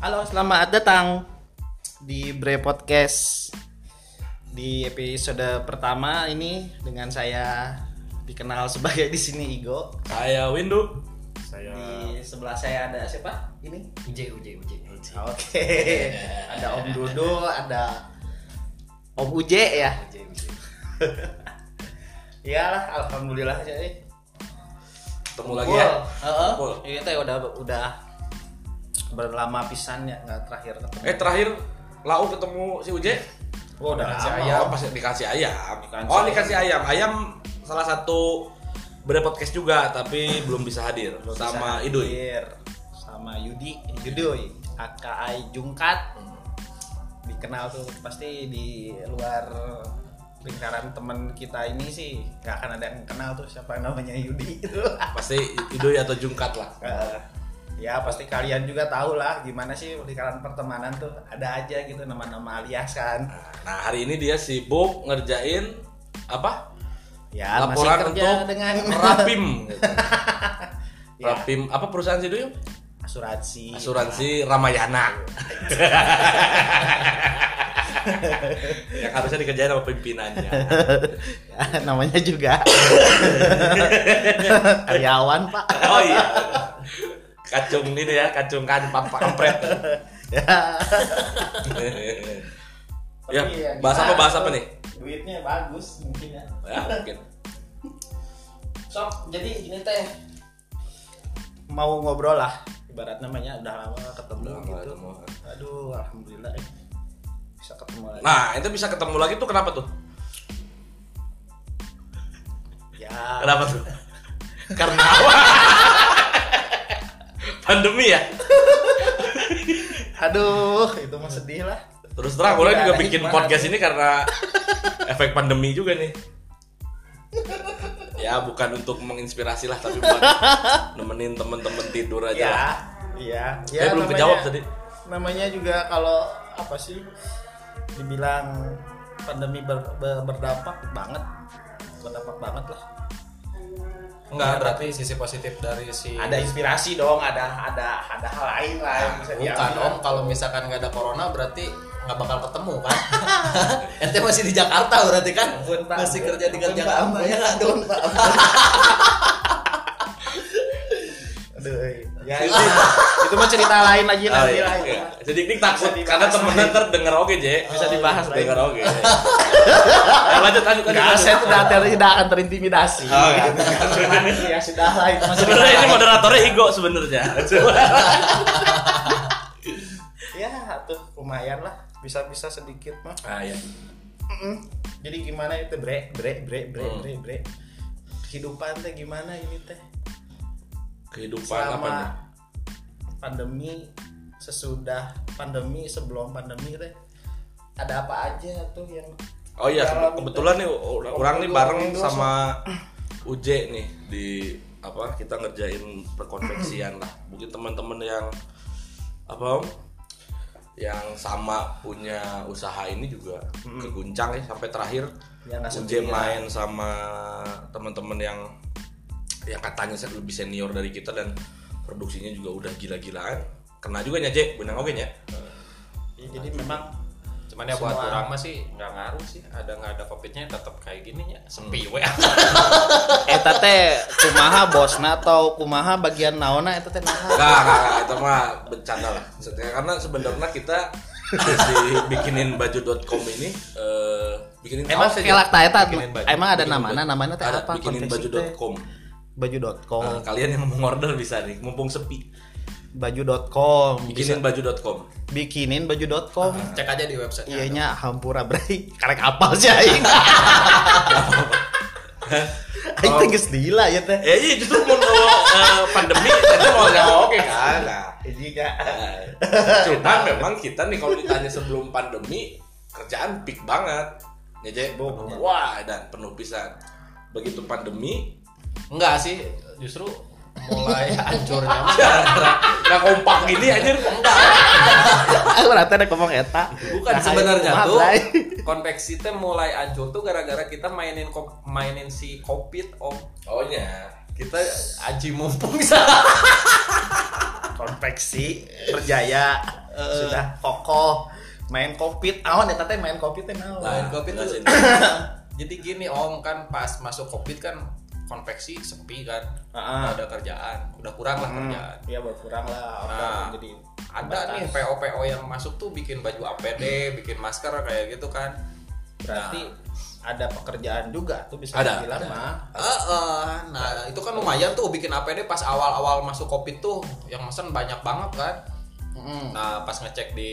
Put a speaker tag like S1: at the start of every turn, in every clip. S1: Halo, selamat datang di Bre Podcast di episode pertama ini dengan saya dikenal sebagai di sini Igo.
S2: Saya Windu. Saya
S1: Di sebelah saya ada siapa? Ini.
S3: Uje, uje, uje.
S1: Oke. ada Om Dodo, ada Om Uje ya.
S3: Uje, uje.
S1: Iyalah, alhamdulillah jadi
S2: ketemu lagi ya.
S1: Heeh.
S2: Kumpul.
S1: Iya teh udah udah berlama pisan ya nggak terakhir ketemu.
S2: Eh terakhir Lau ketemu si Uje
S1: Oh, udah
S2: dikasih
S1: lama.
S2: ayam, pasti dikasih ayam.
S1: Dikasih
S2: oh dikasih ayam. Ayam salah satu beda podcast juga tapi belum bisa hadir
S1: Belum
S2: sama
S1: bisa
S2: Idul.
S1: hadir. sama Yudi Yudoy AKI Jungkat dikenal tuh pasti di luar lingkaran teman kita ini sih nggak akan ada yang kenal tuh siapa namanya Yudi itu
S2: Pasti Idul atau Jungkat lah.
S1: Eh, ya pasti kalian juga tahu lah gimana sih lingkaran pertemanan tuh ada aja gitu nama-nama alias kan
S2: Nah hari ini dia sibuk ngerjain apa?
S1: ya
S2: Laporan
S1: masih kerja
S2: untuk
S1: dengan
S2: Rapim. gitu.
S1: Ya.
S2: Rapim apa perusahaan si Duyung?
S1: asuransi
S2: Asuransi Ramayana. yang harusnya dikerjain sama pimpinannya.
S1: Ya, namanya juga karyawan pak
S2: Oh iya. Kacung ini ya, kacung kan pampak kampret.
S1: ya
S2: ya,
S1: Tapi ya,
S2: bahas apa
S1: gimana
S2: bahas
S1: tuh?
S2: apa nih?
S1: Duitnya bagus mungkin ya.
S2: Ya, mungkin.
S1: Sob, jadi gini teh mau ngobrol lah ibarat namanya udah lama nggak ketemu
S2: Udah lama
S1: gitu.
S2: ketemu. eh.
S1: Aduh, alhamdulillah eh, bisa ketemu lagi.
S2: Nah, itu bisa ketemu lagi tuh kenapa tuh?
S1: Ya,
S2: Kenapa tuh? Karena apa? Pandemi ya.
S1: aduh, itu mah sedih lah.
S2: Terus terang,
S3: Iya,
S1: Tidak
S2: orang juga
S1: ada
S2: bikin
S1: hikmah.
S2: podcast ini karena efek pandemi juga nih. Ya, bukan untuk menginspirasi lah, tapi buat nemenin temen-temen tidur aja lah.
S1: Ya, iya.
S2: Saya belum kejawab tadi.
S1: Namanya juga kalau apa sih dibilang pandemi ber- ber- berdampak banget berdampak banget lah
S3: Enggak, berarti sisi positif dari si
S1: ada inspirasi dong ada ada ada hal lain lah yang bisa
S2: Iya.
S3: Bukan
S1: diambil.
S3: om, kalau misalkan nggak ada corona berarti nggak bakal ketemu kan? Ente masih
S2: Oh,
S3: di Jakarta berarti kan?
S1: Ampun, Pak.
S3: masih kerja di
S1: Ampun,
S3: kerja
S1: Pak.
S3: kamu ya nggak dong?
S1: Aduh, ya itu, itu mah cerita lain lagi
S2: Oh,
S1: nanti
S2: iya.
S1: lah
S3: kan?
S1: itu.
S2: Jadi ini
S1: Bisa
S2: takut
S1: dibahas
S2: karena temennya
S1: lagi.
S2: ntar denger oke,
S3: Oh,
S2: Je.
S1: Bisa dibahas lagi.
S2: Denger oke. Ya, lanjut lanjut lanjut.
S1: Enggak,
S2: lanjut.
S1: saya tidak ter- tidak akan terintimidasi.
S2: Oh, iya.
S1: ya sudah lah itu mah cerita
S2: Sebenarnya ini
S1: lain.
S2: moderatornya Higo sebenarnya.
S1: Ya, tuh lumayan lah, bisa-bisa sedikit mah.
S2: Ah iya.
S1: Mm-mm. Jadi gimana itu bre, bre, bre, bre,
S2: Hmm.
S1: bre, bre. Kehidupan teh gimana ini teh?
S2: Kehidupan apa nih?
S1: Selama pandemi, sesudah pandemi, sebelum pandemi teh ada apa aja tuh yang
S2: Oh iya,
S1: Dalam
S2: ke- kebetulan nih u- orang nih
S1: Kebetulan
S2: bareng
S1: itu
S2: sama Uje nih di apa kita ngerjain perkonveksian lah. Mungkin teman-teman yang apa Om? yang sama punya usaha ini juga keguncang ya sampai terakhir
S1: Ya, nggak
S2: Uje
S1: sendiri lah.
S2: main sama teman-teman yang yang katanya se- lebih senior dari kita dan produksinya juga udah gila-gilaan kena juga nyaje benang oke nya
S1: Ya, jadi memang
S4: Cuman ya buat
S1: Semua.
S4: orang mah sih nggak ngaruh sih. Ada nggak ada covidnya tetap kayak gini ya. Sepi
S1: Hmm.
S4: we.
S1: Eta teh kumaha bosna atau kumaha bagian naona eta teh naha.
S2: Enggak, enggak, enggak, itu mah bercanda lah. Maksudnya, Karena sebenarnya kita si bikinin baju.com ini eh bikinin
S1: Emang
S2: kaos aja.
S1: kelak ta eta
S4: Bikinin baju.
S1: emang ada
S2: Bikinin
S1: namana
S2: baju-
S1: namana teh
S2: ada
S1: apa
S2: Bikinin
S1: konveksi teh?
S2: baju.com.
S1: Baju.com.
S2: Nah, kalian yang mau order bisa nih, mumpung sepi.
S1: Baju.com. Bisa
S2: Bikinin baju.com.
S1: bikinin baju.com.
S4: Ah.
S3: Cek aja di website.
S1: Iyanya Iya hampura bray. Karek apal sih aing. Aing teh geus dila ya teh.
S2: Ya iya justru mau eh, pandemi tadi mau nggak mau, oke kan. Nah,
S1: Iya
S2: eh, cuman memang kita nih kalau ditanya sebelum pandemi kerjaan peak banget. Ya, Jay,
S1: Penuh.
S2: wah dan penuh pisan. Begitu pandemi,
S3: Enggak sih, justru mulai hancurnya mah gara-gara
S2: nggak Nah, kompak gini anjir
S1: Aku rata ada ngomong eta.
S4: Bukan
S1: Nah,
S4: sebenarnya
S1: ayo,
S4: tuh.
S1: maaf,
S4: Konveksi teh mulai hancur tuh gara-gara kita mainin ko- mainin si covid om.
S2: oh iya
S4: Kita aji mumpung
S1: Konveksi Berjaya sudah eh, kokoh main covid awan ya tete main covid teh naon
S2: Nah,
S3: Lain kopi tuh.
S2: jelasin.
S4: Jadi gini Om kan pas masuk covid kan konveksi sepi kan,
S1: Ah, ah.
S4: nggak ada kerjaan, udah kurang lah
S1: Hmm,
S4: kerjaan.
S1: iya berkurang lah orang
S4: Nah,
S1: jadi
S4: Ada nih PO PO yang masuk tuh bikin baju
S1: Hmm.
S4: APD, bikin masker kayak gitu kan.
S1: berarti ada pekerjaan juga tuh bisa
S2: Ada,
S1: dibilang mah
S4: Ah, ah, nah itu kan lumayan tuh bikin APD pas awal-awal masuk covid tuh yang mesen banyak banget kan.
S1: Mm.
S4: Nah pas ngecek di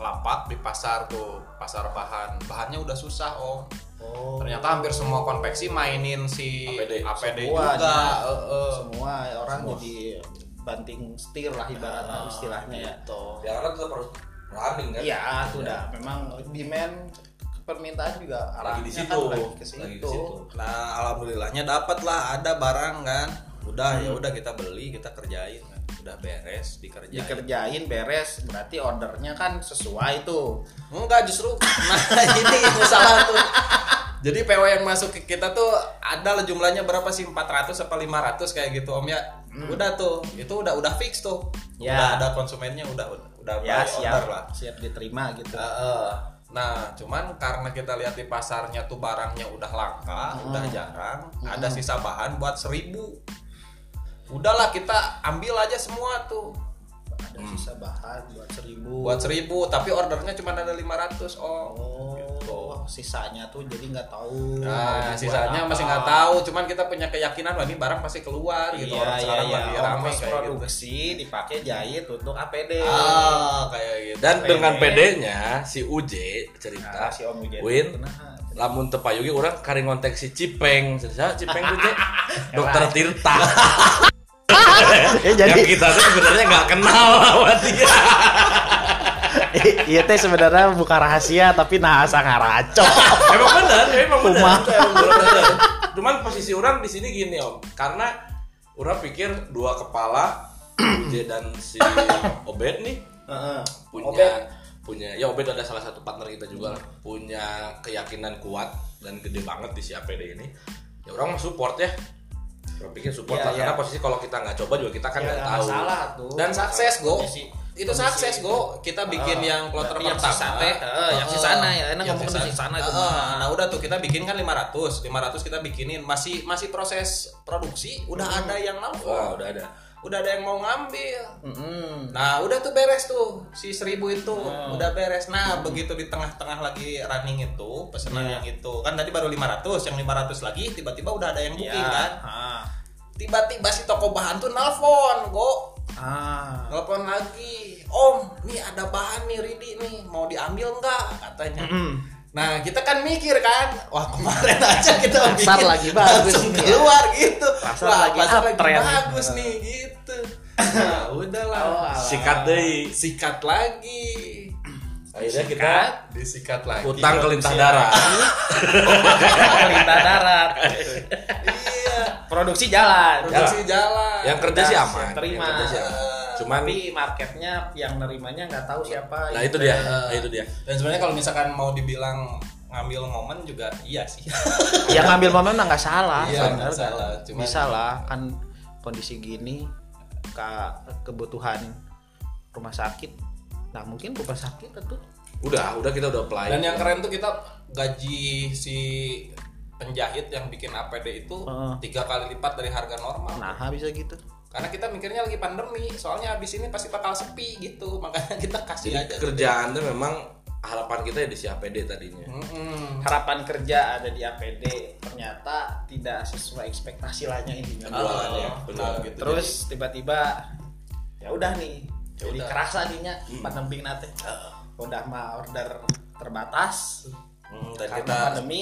S4: lapak di pasar tuh pasar bahan bahannya udah susah om.
S1: oh
S4: Ternyata hampir semua konveksi mainin si
S2: APD.
S4: APD,
S1: Semua
S4: juga.
S1: aja.
S4: eh, eh.
S1: semua orang jadi banting setir lah ibaratnya istilahnya ya
S2: Ya karena tetap harus running kan.
S1: iya tuh dah memang demand permintaan juga
S2: Lagi di
S1: arahnya
S2: situ.
S1: kan lagi ke
S2: Lagi di
S1: situ
S2: situ.
S3: Nah, alhamdulillahnya dapat lah ada barang kan. Udah ya
S4: Hmm.
S3: udah kita beli, kita kerjain kan. Udah beres
S4: Ya,
S3: dikerjain.
S1: Gitu. dikerjain beres berarti ordernya kan sesuai tuh
S4: Enggak justru nah ini itu salah tuh. Jadi PO yang masuk ke kita tuh ada lah jumlahnya berapa sih 400 apa 500 kayak gitu Om ya. Udah tuh, itu udah udah fix tuh.
S1: Hmm. Ya.
S4: Udah ada konsumennya udah udah
S1: ya
S4: by
S1: siap
S4: lah. Ah.
S1: siap diterima gitu
S4: Heeh. Nah, cuman karena kita lihat di pasarnya tuh barangnya udah langka,
S1: Hmm.
S4: udah jarang, ada sisa bahan buat seribu. Udahlah kita ambil aja semua tuh
S1: ada sisa bahan buat seribu
S4: Hmm. buat seribu, tapi ordernya cuma ada 500 om.
S1: oh sisanya tuh jadi nggak tahu Buat
S4: Nah, gitu. sisanya
S1: apa.
S4: masih nggak tahu, cuman kita punya keyakinan wah ini barang pasti keluar gitu.
S1: iya
S4: Orang
S1: iya
S4: sekarang
S1: iya
S4: lagi rame
S1: ongkos
S4: kayak gitu.
S1: produksi dipakai jahit untuk APD
S4: Ah, kayak gitu.
S2: Dan
S1: Pede.
S2: dengan PD-nya si UJ cerita
S1: Nah, si Om Wijen
S2: Win
S1: Nah,
S2: lamun tepayugi orang kari ngontek si Cipeng Sisa Cipeng tuh Cek? dokter Tirta
S5: Eh
S2: yang
S4: Ya,
S5: jadi
S2: kita tuh sebenarnya nggak kenal sama dia
S5: iya teh sebenarnya buka rahasia tapi nah asa ngaraco.
S2: emang benar emang
S5: Kumaha.
S2: benar Emang benar. cuman posisi orang di sini gini om karena orang pikir dua kepala UJ dan si Obed nih
S1: heeh.
S2: punya punya ya Obed ada salah satu partner kita juga lah punya keyakinan kuat dan gede banget di si APD ini ya orang mah support ya orang pikir support
S1: Iya,
S2: lah
S1: iya.
S2: karena posisi kalau kita nggak coba juga kita kan
S1: Ya,
S2: nggak
S1: nggak
S2: tahu
S1: masalah tuh
S4: Dan sukses go.
S1: Iya Kondisi- Ah,
S4: Itu sukses go. Kita bikin yang kloter
S1: berarti yang
S4: pertama. Ah,
S1: sisa teh, eh, yang sisana ya, enak
S4: Yang
S1: ngomong Ah,
S4: sisa-
S1: di sisana itu
S4: Eh,
S1: mah.
S4: eh, Nah, udah tuh kita bikin kan 500. 500 kita bikinin masih masih proses produksi udah
S1: Hmm.
S4: ada yang
S2: wah
S4: nelfon.
S2: udah ada
S4: Udah ada yang mau ngambil.
S1: Mm-mm.
S4: Nah udah tuh beres tuh si seribu itu udah beres. Nah begitu di tengah-tengah lagi running itu pesanan
S5: Iya.
S4: yang itu kan tadi baru 500 yang 500 lagi tiba-tiba udah ada yang
S1: Iya.
S4: booking kan.
S1: Ah.
S4: Tiba-tiba si toko bahan tuh nelfon, go
S1: Ah.
S4: nelfon lagi, om nih ada bahan nih Ridi nih mau diambil nggak katanya.
S5: Mm-hmm.
S4: Nah kita kan mikir kan, wah kemarin aja kita
S5: Pasar
S4: bikin,
S5: lagi bagus
S4: langsung
S5: nih, ya.
S4: keluar gitu,
S5: Pasar
S4: wah
S5: lagi
S4: pasar lagi
S5: uptrend.
S4: bagus nih gitu. Nah udahlah
S5: Oh,
S2: sikat deh
S4: sikat lagi
S2: akhirnya kita
S4: disikat lagi
S2: utang kelintah darah
S1: Perintah darat.
S4: iya
S1: Produksi jalan.
S4: produksi jalan
S2: yang kerja sih aman
S1: Yang terima.
S2: Yang kerja sih aman. cuman
S1: Tapi marketnya yang nerimanya nggak tahu siapa.
S2: nah itu dia nah itu dia
S4: dan sebenarnya kalau misalkan mau dibilang ngambil momen juga iya sih
S5: Ya ngambil momen mah nggak salah.
S4: Iya,
S5: sebenarnya.
S4: nggak salah. Cuman-
S5: Bisa lah kan kondisi gini ke kebutuhan rumah sakit. Nah mungkin rumah sakit itu
S2: udah udah kita udah apply
S4: dan yang keren tuh kita gaji si penjahit yang bikin APD itu
S5: Heeh.
S4: tiga kali lipat dari harga normal
S5: nah bisa gitu.
S4: karena kita mikirnya lagi pandemi soalnya abis ini pasti bakal sepi gitu makanya kita kasih
S2: jadi
S4: aja
S2: kerjaan tuh memang harapan kita ya di si APD tadinya
S4: Hmm. Mm-mm.
S1: Harapan kerja ada di APD ternyata tidak sesuai ekspektasi lainnya intinya.
S2: Jualannya,
S1: iya.
S4: Ah,
S2: benar.
S4: gitu.
S1: Oh, Terus tiba-tiba ya udah nih. Jadi
S4: udah. Hmm.
S1: kerasa dinya pendamping nate. Udah mah order terbatas
S4: Mm, dan
S1: karena
S4: kita Oh.
S1: pandemi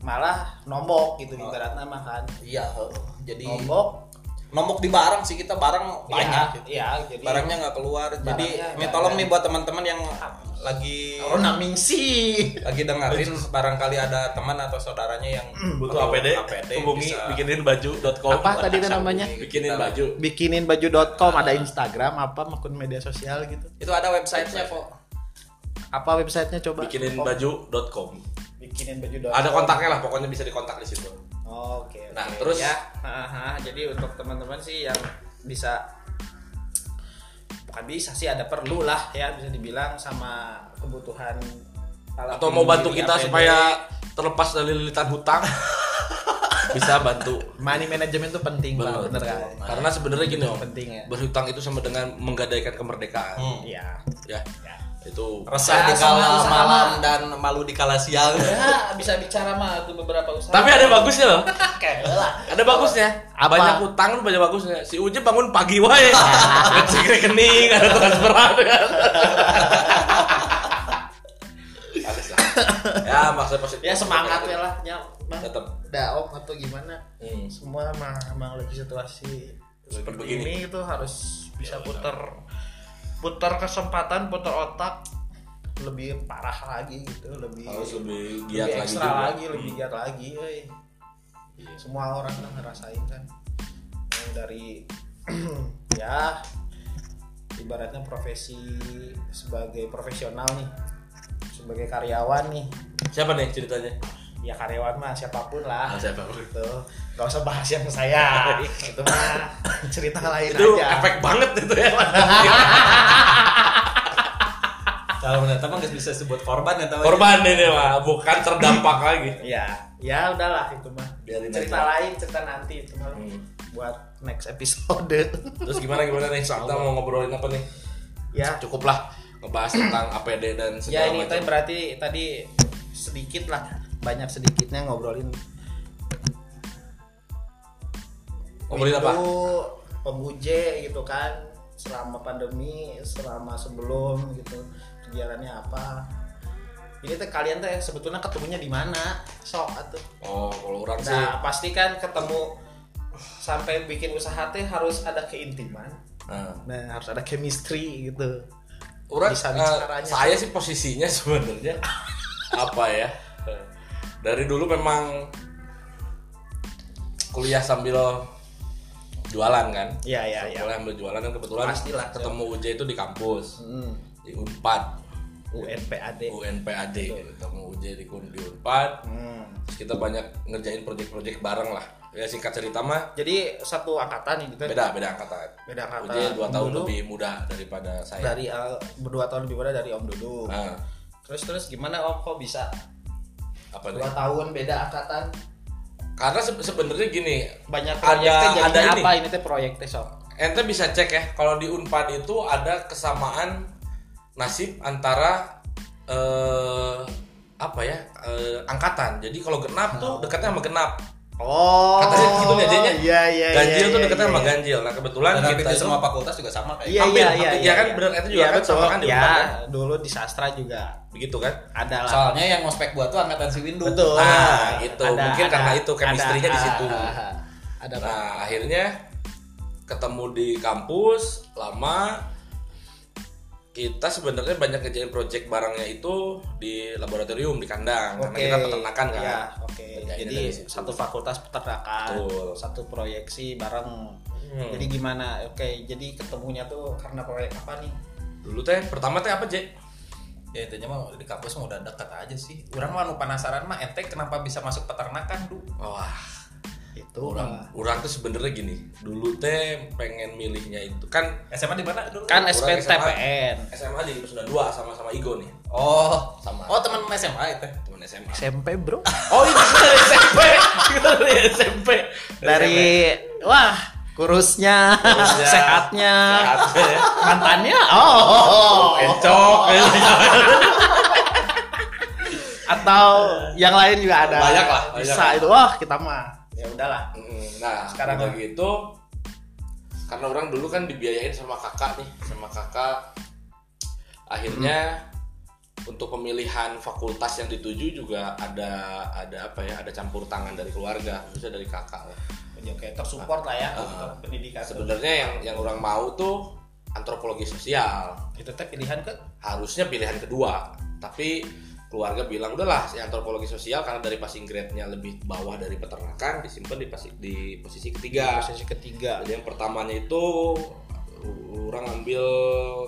S1: malah nombok gitu ibaratnya mah kan.
S4: iya jadi
S1: Nombok
S4: nomok di barang sih kita barang banyak gitu.
S1: Iya, iya, jadi
S4: barangnya nggak keluar jadi
S1: Barangnya
S4: ini
S1: nggak
S4: tolong
S1: ada.
S4: nih buat teman-teman yang lagi
S1: Oh, naming sih.
S4: lagi dengerin barangkali ada teman atau saudaranya yang
S2: butuh APD, hubungi
S4: bisa.
S2: bikinin baju.com
S5: Apa tadi itu namanya?
S2: bikinin baju
S5: Bikinin baju.com ada Instagram apa akun media sosial gitu.
S4: itu ada websitenya kok
S5: Apa websitenya coba?
S2: bikinin baju.com
S1: Bikinin baju doang.
S2: ada kontaknya lah pokoknya bisa dikontak di situ
S1: Oh, Oke. oke.
S2: Nah, terus-
S1: ya, aha, jadi untuk teman-teman sih yang bisa bukan bisa sih ada perlu lah ya bisa dibilang sama kebutuhan alat
S2: atau mau bantu
S1: sendiri,
S2: kita
S1: APD.
S2: supaya terlepas dari lilitan hutang bisa bantu
S5: money management tuh penting
S2: Bener. Nah,
S5: banget bener kan
S2: karena sebenarnya gini om
S1: Nah, penting ya
S2: berhutang itu sama dengan menggadaikan kemerdekaan
S1: iya
S2: ya itu
S3: Resah di kala malam dan malu di kala siang.
S1: ya bisa bicara mah tuh beberapa usaha
S2: tapi ada bagusnya loh
S1: kayak lah
S2: ada bagusnya
S5: Apa?
S2: banyak hutang tuh banyak bagusnya si Uje bangun pagi wae ngecek rekening ada transferan kan Ada sih. ya maksudnya positif
S1: ya semangat ya lah ya bang
S2: tetap
S1: ada om atau gimana
S2: Hmm.
S1: semua mah emang lagi situasi
S2: Seperti
S1: seperti ini itu harus bisa
S2: Ya,
S1: putar putar kesempatan putar otak lebih parah lagi gitu lebih
S2: harus
S1: lebih
S2: lebih giat lagi
S1: ekstra
S2: juga Hmm.
S1: lagi, lebih giat lagi euy. semua orang udah ngerasain kan Yang dari ya ibaratnya profesi sebagai profesional nih sebagai karyawan nih
S2: siapa nih ceritanya
S1: ya karyawan mah siapapun lah
S2: Ah, siapa?
S1: gitu nggak usah bahas yang saya itu mah cerita lain
S2: itu
S1: aja
S2: efek banget itu ya
S3: Kalau ternyata mah nggak bisa sebut korban ya tahu.
S2: korban ini mah bukan terdampak lagi
S1: ya ya udahlah itu mah
S2: Biarin
S1: cerita
S2: aja.
S1: lain cerita nanti itu mah
S2: Hmm.
S1: buat next episode
S2: terus gimana gimana nih kita mau ngobrolin apa nih
S1: ya
S2: cukup lah ngebahas tentang APD dan segala
S1: ya ini
S2: macam
S1: tadi berarti tadi sedikit lah banyak sedikitnya ngobrolin
S2: ngobrolin apa
S1: Windu, pembuje gitu kan selama pandemi selama sebelum gitu kegiatannya apa ini teh kalian teh sebetulnya ketemunya di mana sok atuh
S2: oh kalau orang sih
S1: nah pasti kan ketemu sampai bikin usaha teh harus ada keintiman
S2: nah,
S1: nah harus ada chemistry gitu
S2: orang
S1: Bisa
S2: eh,
S1: bicaranya.
S2: saya sih posisinya sebenarnya apa ya dari dulu memang kuliah sambil jualan kan
S1: ya ya ya
S2: kuliah sambil jualan dan kebetulan
S1: Pastilah.
S2: ketemu UJ itu di kampus
S1: hmm.
S2: di Unpad
S1: UNPAD
S2: UNPAD ketemu UJ di kun- di Unpad
S1: hmm.
S2: terus kita banyak ngerjain proyek-proyek bareng lah ya singkat cerita mah
S1: jadi satu angkatan nih gitu
S2: beda beda angkatan
S1: beda
S2: UJ
S1: angkatan
S2: dua
S1: Om
S2: tahun
S1: Dudung
S2: lebih muda daripada saya
S1: dari eh, dua tahun lebih muda dari Om Dudung
S2: nah,
S1: terus terus gimana Om kok bisa
S2: apa nih?
S1: dua tahun beda angkatan
S2: karena se- sebenarnya gini
S1: banyak
S2: Ada-
S1: proyek teh jadinya
S2: ada ini.
S1: apa ini teh proyek teh sob
S2: ente bisa cek ya kalau di Unpad itu ada kesamaan nasib antara eh, apa ya eh, angkatan jadi kalau genap tuh dekatnya sama genap
S1: oh
S2: Katanya gitu nih, jadinya
S1: iya iya
S2: ganjil
S1: iya,
S2: tuh
S1: iya,
S2: dekatnya
S1: iya.
S2: sama ganjil nah kebetulan
S3: Dan
S2: kita
S3: hampir di
S2: itu
S3: semua fakultas juga sama kayak.
S1: iya
S2: Hampir,
S1: iya
S2: hampir.
S1: iya
S2: Ya kan, bener, itu juga
S1: Iya,
S2: kan sama
S1: betul.
S2: kan di
S1: ya
S2: belakang.
S1: dulu di sastra juga
S2: begitu kan
S1: ada
S4: gitu.
S1: lah
S3: Soalnya yang ngospek buat tuh angkatan si Windu.
S1: betul
S2: Nah, itu.
S1: Ada-
S2: Mungkin
S1: ada-
S2: karena itu, chemistry-nya di
S1: ada-
S2: situ.
S1: ada apa
S2: Nah, akhirnya ketemu di kampus lama kita sebenarnya banyak kerjain project barangnya itu di laboratorium di kandang karena
S1: Oke.
S2: kita peternakan kan.
S1: Ya, oke.
S2: Kerjainnya
S1: Jadi
S2: dari situ.
S1: satu fakultas peternakan,
S2: Betul.
S1: satu proyeksi bareng.
S2: Hmm.
S1: Jadi gimana? Oke, jadi ketemunya tuh karena proyek apa nih?
S2: Dulu teh pertama teh apa, Jek?
S3: Ya intinya mah di kampus mah udah dekat aja sih.
S4: Orang mah nu penasaran mah ente kenapa bisa masuk peternakan du?
S2: Wah,
S1: Itu
S2: orang orang tuh sebenarnya gini. Dulu teh pengen milihnya itu kan
S4: SMA di mana dulu?
S1: kan
S2: orang
S1: SPTPN.
S2: SMA di Pesunda 2 sama-sama Igo nih.
S3: Oh,
S2: Sama.
S3: Oh, teman SMA itu.
S2: Teman SMA.
S5: SMP bro
S2: Oh, itu dari SMP. Itu dari SMP.
S5: dari wah kurusnya,
S2: Kurusnya.
S5: sehatnya
S1: Ah.
S2: Sehatnya ya.
S5: mantannya oh, oh, oh.
S2: Encok.
S5: atau yang lain juga ada
S2: Banyak lah, banyak
S5: bisa
S2: lah.
S5: itu wah kita mah
S1: Ya udahlah.
S2: Mm, Nah,
S1: Sekarang
S2: sekarang udah gitu karena orang dulu kan dibiayain sama kakak nih, sama kakak akhirnya untuk pemilihan fakultas yang dituju juga ada ada apa ya, ada campur tangan dari keluarga, bisa dari kakak. lah.
S1: Oke, tersupport lah ya
S2: Ah.
S1: untuk pendidikan. tuh.
S2: Sebenarnya yang yang orang mau tuh antropologi sosial.
S1: Itu teh pilihan ke
S2: Harusnya pilihan kedua, tapi keluarga bilang udahlah si antropologi sosial karena dari passing grade-nya lebih bawah dari peternakan disimpan di, pasi- di posisi ketiga.
S1: posisi ketiga.
S2: Jadi yang pertamanya itu orang ambil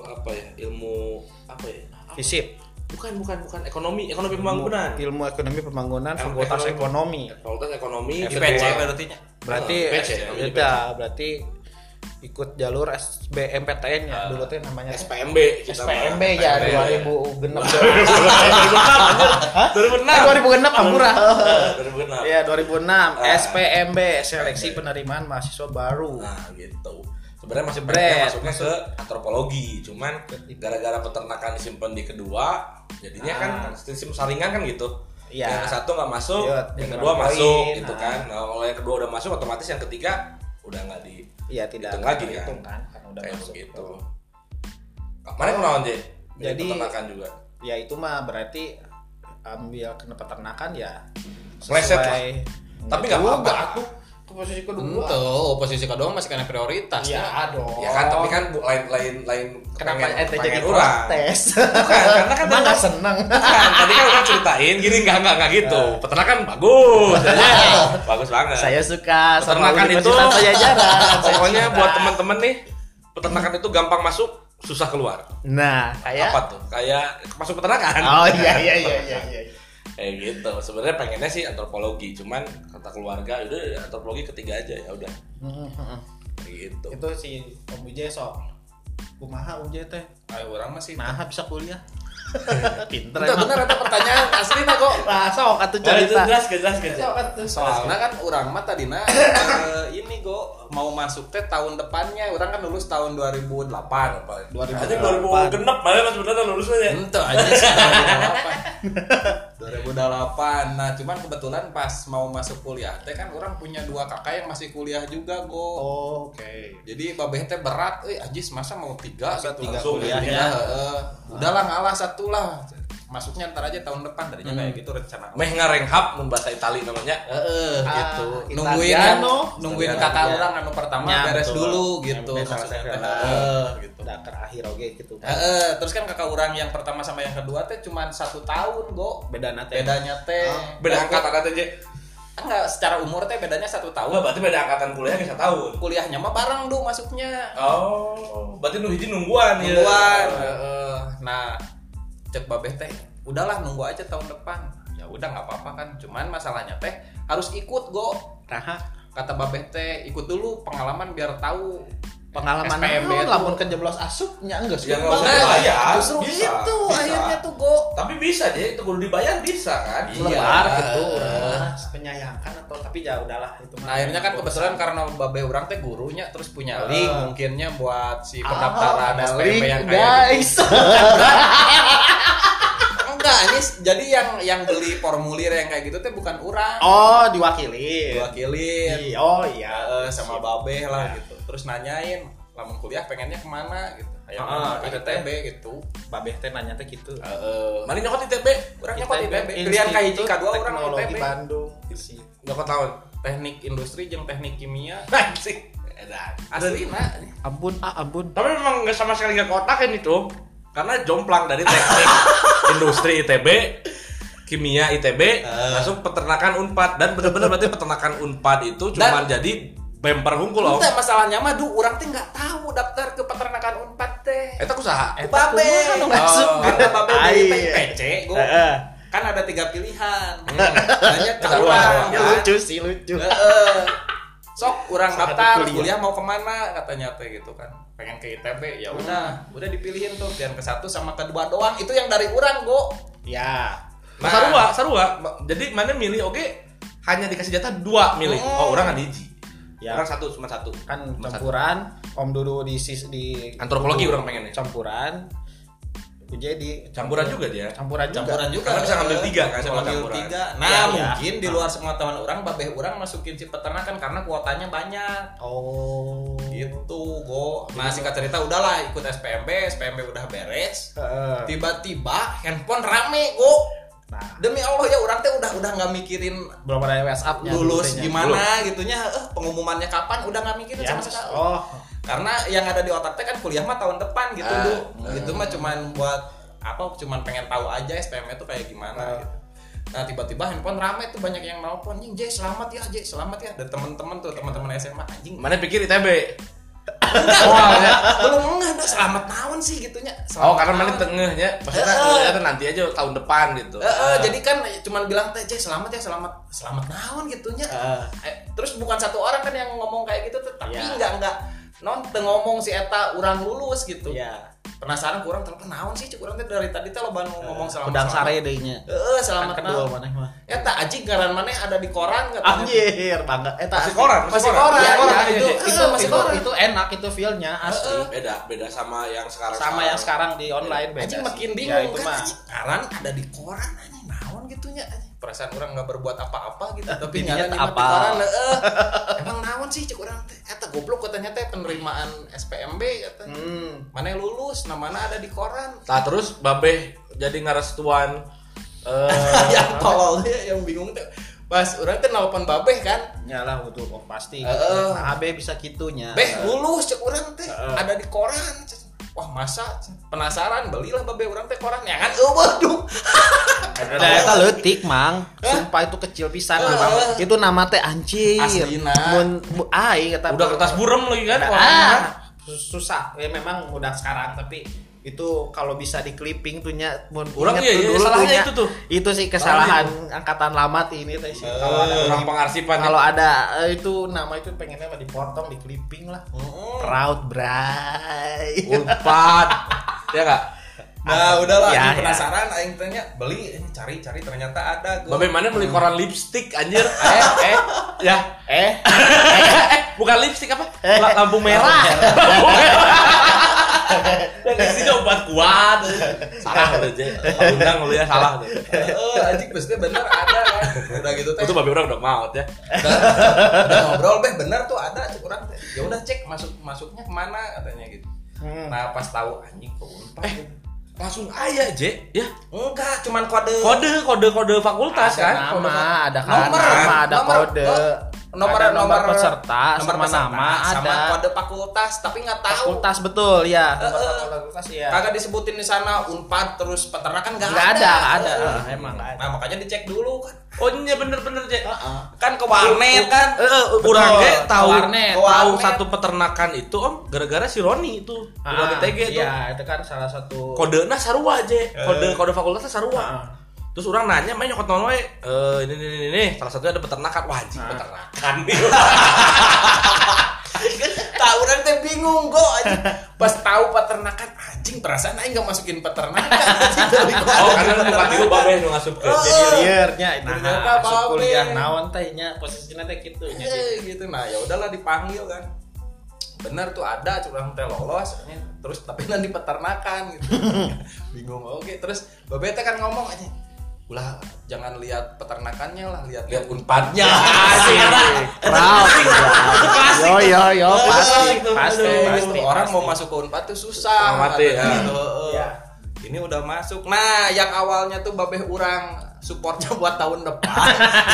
S2: apa ya ilmu apa ya? Apa?
S1: Fisip,
S2: Bukan bukan bukan ekonomi ekonomi pembangunan.
S1: ilmu ekonomi pembangunan,
S2: Ilmu
S1: fakultas
S2: ekonomi. Ah,
S1: ekonomi.
S2: Fakultas ekonomi
S3: Di
S2: kedua.
S3: PC berarti nya.
S1: Berarti
S2: PC,
S1: ya
S2: namanya
S1: udah, berarti ikut jalur SBMPTN
S2: Ah.
S1: ya dulu tuh namanya
S2: SPMB kita
S1: SPMB
S2: mah.
S1: ya
S2: SPMB.
S1: 2006 Eh, 2006 ampura.
S2: Bener bener.
S1: Ya 2006
S2: Ah.
S1: SPMB seleksi penerimaan mahasiswa baru.
S2: Nah gitu. Sebenarnya masih
S1: Jebret.
S2: berat masuknya ke antropologi, cuman gara-gara peternakan disimpan di kedua, jadinya kan
S1: Ah.
S2: sistem saringan kan gitu.
S1: Iya.
S2: Yang ke satu nggak masuk,
S1: Iya,
S2: yang
S1: timbang
S2: kedua
S1: poin.
S2: masuk, gitu
S1: Ah.
S2: kan. Nah, kalau yang kedua udah masuk, otomatis yang ketiga udah nggak di
S1: Iya tidak
S2: Hitung lagi, kan?
S1: hitung kan karena udah
S2: kayak
S1: masuk. Oh.
S2: begitu. Kemarin kenapa J?
S1: Jadi-
S2: peternakan juga.
S1: Ya itu mah berarti ambil kena peternakan ya.
S2: Meleset lah.
S1: sesuai-
S2: Tapi nggak apa-apa.
S1: aku ke posisi kedua.
S4: Tuh, posisi kedua masih kena prioritas.
S1: Ya
S4: Ya.
S1: dong.
S2: Ya kan, tapi kan bu- lain lain lain
S1: kenapa
S2: kepengen-
S1: ente jadi
S2: kepengen orang.
S1: tes?
S2: Bukan, karena kan
S1: Emang
S2: tadi-
S1: nggak seneng.
S2: Bukan, tadi kan udah ceritain gini nggak nggak nggak gitu.
S1: Nah.
S2: Peternakan bagus, ya. bagus banget.
S1: Saya suka sama
S2: peternakan itu
S1: Universitas Pajajaran. Saya
S2: pokoknya
S1: cinta.
S2: buat teman-teman nih peternakan itu gampang masuk susah keluar
S1: Nah, kayak
S2: apa tuh kayak masuk peternakan
S1: Oh iya iya iya iya iya.
S2: kayak gitu sebenarnya pengennya sih antropologi cuman kata keluarga udah ya, antropologi ketiga aja ya udah Kayak gitu
S6: itu si Om Uje sok kumaha Uje teh
S4: Ayo orang masih.
S1: Nah, bisa kuliah. Pinter
S4: Enggak
S1: emang.
S4: bener itu pertanyaan asli nah kok.
S1: Lah, sok atuh
S2: Oh, itu
S1: cerita.
S2: jelas, jelas, jelas.
S4: Soalnya kan orang mah tadina eh, ini go mau masuk teh tahun depannya. Orang kan lulus tahun 2008 apa.
S2: Aja 2000 genep, malah mas beneran lulusnya ya.
S4: Ente aja sih 2008. 2008. Nah, cuman kebetulan pas mau masuk kuliah teh kan orang punya dua kakak yang masih kuliah juga go.
S1: Oh, Oke.
S4: Jadi babeh teh berat, eh anjis masa mau tiga
S1: Masa
S4: gitu
S1: tiga
S4: langsung.
S1: kuliahnya?
S4: Iya, heeh. udahlah ngalah satu lah. Masuknya ntar aja tahun depan tadinya kayak gitu rencana.
S2: Meh ngarenghap mun bahasa Itali namanya.
S4: Heeh,
S1: Ah, Italiano.
S4: gitu. Nungguin nungguin
S2: Italiano,
S4: kakak
S1: iya.
S4: orang anu pertama
S1: Ya,
S4: beres
S1: betul. Iya,
S4: dulu gitu.
S1: Yang beres sama
S4: maksudnya teh.
S1: segala.
S4: Heeh, gitu.
S1: Iya, Udah terakhir oke gitu.
S4: Heeh, terus kan kakak orang yang pertama sama yang kedua teh cuman satu tahun, Go.
S1: Beda ya? nate.
S4: Bedanya teh.
S1: Ah.
S2: Beda angkatan aja, Je.
S4: Enggak, secara umur teh bedanya satu
S2: Wah,
S4: tahun.
S2: berarti beda angkatan kuliahnya kayak tahun.
S4: Kuliahnya mah bareng do masuknya.
S2: Oh, berarti nu hiji nungguan ya.
S4: Duluan. Heeh. Nah, cek babeh teh udahlah nunggu aja tahun depan. Ya udah nggak apa-apa kan. Cuman masalahnya teh harus ikut, Go. Ya,
S1: Raha.
S4: kata babeh teh ikut dulu pengalaman biar tahu
S1: Pengalaman
S4: SPMB
S1: naon,
S4: itu.
S1: lamun kejeblos asupnya enggak
S2: Ya
S1: sih.
S2: nggak usah
S4: Nah,
S2: dibayar.
S4: justru
S2: Bisa,
S1: gitu
S4: itu
S2: bisa.
S4: akhirnya tuh go
S2: Tapi bisa deh, itu kudu dibayar bisa kan?
S1: Lebar gitu.
S6: penyayangkan atau tapi ya udahlah itu
S4: nah akhirnya kan kebetulan karena babeh orang teh gurunya terus punya link mungkinnya buat si pendaftaran
S1: Ah,
S4: SPP
S1: link,
S4: yang kayak
S1: guys.
S4: gitu. enggak ini s- jadi yang yang beli formulir yang kayak gitu teh bukan orang
S1: Oh, diwakili.
S4: diwakilin
S1: Iya, Oh iya.
S4: ya, eh, sama babeh lah gitu terus nanyain lamun kuliah pengennya kemana gitu ayo
S2: Ah,
S4: ke ITB gitu
S1: Babeh teh nanya teh gitu.
S2: Mari nyokot ITB,
S4: orang nyokot ITB
S1: Institut
S4: pilihan kayak jika dua orang
S1: Teknologi
S4: ITB
S1: Bandung.
S4: Gitu
S2: nyokot tahun.
S4: teknik industri jeung teknik kimia
S2: Anjing. Edan.
S4: asli nah
S1: Ampun, ah ampun.
S2: Tapi memang nggak sama sekali nggak kotakin itu, karena jomplang dari teknik industri ITB, kimia ITB,
S4: Eh.
S2: masuk peternakan Unpad dan benar-benar berarti peternakan Unpad itu cuman jadi bemper hungkul om.
S4: Itu masalahnya mah duh urang teh nggak tahu daftar ke peternakan Unpad teh.
S1: Eh,
S2: Eta kusaha.
S4: Ku Babe.
S1: kumaha nu masuk?
S4: Oh, karena babe beli
S1: Ai.
S4: PPC gua.
S1: Heeh.
S4: Kan ada tiga pilihan. Hanya ke
S2: Eta doang.
S4: urang.
S1: Ya,
S4: kan.
S1: lucu sih, lucu.
S2: Gitu.
S4: Heeh. Sok urang
S1: Saat
S4: daftar
S1: kuliah.
S2: ya.
S4: kuliah mau kemana katanya teh gitu kan. Pengen ke ITB ya udah, udah dipilihin tuh pilihan ke satu sama kedua doang. Itu yang dari urang, Go.
S1: Ya.
S2: Nah, sarua, sarua. Ma- Jadi mana milih oke hanya dikasih jatah dua milih.
S4: Hmm.
S2: Oh, orang nggak diiji.
S1: Ya.
S2: Orang satu cuma satu.
S1: kan
S2: Cuma satu.
S1: campuran om dulu di sis di
S2: Antropologi orang pengennya.
S1: campuran Uje di
S2: Campuran
S4: Iya.
S2: juga dia.
S1: campuran juga.
S4: campuran juga
S2: Karena bisa ngambil tiga kan
S4: Bisa
S2: kalau
S4: ngambil
S2: campuran. ya. Ah.
S4: tiga nah
S1: Iya, iya.
S4: mungkin di luar sepengetahuan orang babeh orang masukin si peternakan karena kuotanya banyak
S1: oh
S4: gitu go nah singkat cerita udahlah ikut SPMB SPMB udah beres
S1: Heeh.
S4: tiba-tiba handphone rame go
S1: nah
S4: demi Allah ya orang teh udah udah nggak mikirin
S1: belum ada WhatsApp nya
S2: Ya,
S4: lulus gimana gitunya eh pengumumannya kapan udah nggak mikirin
S1: ya,
S4: sama sekali
S1: oh
S4: karena yang ada di otak teh kan kuliah mah tahun depan gitu
S2: Ah,
S4: Du. itu mah cuman buat apa cuman pengen tahu aja SPM itu kayak gimana
S2: Ah.
S4: gitu nah tiba-tiba handphone rame tuh banyak yang nelpon anjing Jay selamat ya Jay selamat ya ada teman-teman tuh teman-teman SMA anjing
S2: Mana pikir ITB?
S4: belum enggak udah selamat tahun sih gitunya
S2: ya. Oh,
S4: Selamat
S2: karena mana
S4: naon.
S2: tengahnya. Maksudnya
S4: Ah. Eh, eh.
S2: ternyata nanti aja tahun depan gitu.
S4: Eh, eh, jadi kan cuman bilang teh Jay selamat ya selamat
S2: Ah.
S5: Iya.
S4: selamat tahun gitunya Eh, terus bukan satu orang kan yang ngomong kayak gitu tuh tapi enggak enggak non teu ngomong si eta urang lulus gitu
S1: Iya.
S4: penasaran kurang telepon naon sih cik urang teh dari tadi teh loba nu ngomong selamat
S5: Eh, Pedang sare deunya.
S4: heeh selamat
S5: Kan kedua
S4: naon
S5: maneh mah.
S4: eta anjing ngaran maneh ada di koran katanya.
S5: Anjir, bangga. Eh, Eta
S2: Masih koran,
S4: masih koran,
S5: Iya,
S4: koran.
S5: iya,
S4: itu,
S5: iya.
S4: itu masih
S5: itu,
S4: koran.
S5: itu enak itu feel-nya asli.
S2: Iya, beda beda sama yang sekarang
S5: Sama yang sekarang di online beda.
S4: Anjing
S5: sih.
S4: makin
S5: Ya,
S4: bingung
S5: itu
S4: kan
S5: mah.
S4: anjing ngaran ada di koran anjing naon gitunya anjing. Perasaan orang nggak berbuat apa-apa gitu tapi
S5: Jadinya Eh, teu
S4: ngaran nyimak di
S5: apal.
S4: koran heeh. Emang naon sih cek orang teh eta goblok katanya teh penerimaan SPMB katanya.
S5: Hmm.
S4: Mana yang lulus, nah mana ada di koran.
S2: nah terus babeh jadi ngarestuan eh
S4: yang tololnya yang bingung tuh pas orang tuh nelfon babeh kan
S1: Nyalah butuh oh, pasti.
S4: Heeh.
S5: Nah, AB bisa gitunya. Nah,
S2: Eh.
S4: beh lulus cek orang teh ada di koran wah masa penasaran belilah babeh orang teh koran ya kan oh waduh
S5: Nah, eta leutik, Mang. Sumpah itu kecil pisan, Mang. Itu nama teh anjir.
S4: Aslina.
S5: Mun mu- ai kata
S2: udah kertas burem lagi
S1: Nah,
S2: kan warnanya kan?
S5: Ah,
S1: Susah. Ya memang udah sekarang tapi itu kalau bisa di clipping tuh nya mun
S2: Orang
S5: inget tuh
S2: iya, iya,
S5: dulu
S2: salahnya
S5: nya.
S2: itu tuh.
S5: Itu sih kesalahan angkatan lama teh ini teh sih. Kalau ada
S2: orang pengarsipan
S5: kalau ada eh, itu nama itu pengennya mah dipotong di clipping lah proud bray
S2: unpad ya kak
S4: nah udahlah
S5: Ya,
S2: iya,
S5: ya.
S4: anjing penasaran aing tanya beli ini cari cari ternyata ada gua
S2: Babe mana beli koran lipstick anjir? Eh, eh, ya, eh, bukan lipstick apa? La- Lampu merah. Lampu merah. Dan isinya obat kuat. Salah lu aja. Undang lu ya salah. lu.
S4: Eh, anjing pasti bener ada kan udah gitu teh
S2: Itu babe orang udah maut ya.
S4: udah, udah ngobrol beh bener tuh ada cek orang teh ya udah cek masuk masuknya kemana katanya gitu
S2: Hmm.
S5: Hmm.
S4: nah pas tahu anjing gitu." ke Unpad
S2: Eh, langsung aja, Je. Ya,
S4: enggak cuman kode
S2: kode kode kode fakultas
S5: ada
S2: kan.
S5: nama ada kan
S4: Nomor,
S5: nama ada
S4: nomor,
S5: kode
S4: eh, nomor
S5: ada
S4: nomor
S5: nomor peserta sama
S4: peserta,
S5: nama
S4: sama
S5: ada
S4: kode fakultas tapi nggak tahu
S5: fakultas betul ya
S4: Eh, eh.
S5: fakultas ya
S4: kagak disebutin di sana unpad terus peternakan nggak
S5: nggak ada nggak ada
S4: Eh,
S5: Eh, emang nggak ada
S4: nah makanya dicek dulu kan
S2: Oh iya bener-bener Je.
S4: kan ke warnet kan
S2: Eh, eh,
S5: Betul,
S2: kurang ge tahu
S5: warnet.
S2: tahu
S4: Warnet.
S2: satu peternakan itu om gara-gara si Roni itu. Roni
S1: Ah,
S2: TG itu.
S1: Iya, Eh. itu kan salah satu
S2: kode nah sarua aja kode kode fakultasnya sarua
S1: Heeh.
S2: terus orang nanya main nyokot nonwe eh ini ini ini, ini salah satunya ada peternakan
S1: Ah.
S2: wah anjing peternakan
S4: tahu orang teh bingung kok anjing. pas tahu peternakan anjing perasaan aing nggak masukin peternakan anjing dari
S2: oh
S4: kode.
S2: karena lu bukan tiru babe nu ngasup ke
S1: jadi liarnya
S4: Ternyata
S1: nah masuk
S4: babe.
S1: kuliah naon teh nya posisinya teh kitu
S5: Iya,
S1: nya
S4: Eh, gitu nah ya udahlah dipanggil kan bener tuh ada curang teh lolos ini, terus tapi nanti peternakan gitu bingung oke terus babete kan ngomong aja ulah jangan lihat peternakannya lah lihat lihat unpadnya
S5: proud Bray. yo yo yo
S4: Oh,
S5: pasti pasti
S4: Aduh,
S5: pasti Hmm.
S4: orang mau masuk ke unpad tuh susah
S2: Selamat ya.
S4: katanya gitu. Heeh. ini udah masuk nah yang awalnya tuh babeh urang supportnya buat tahun depan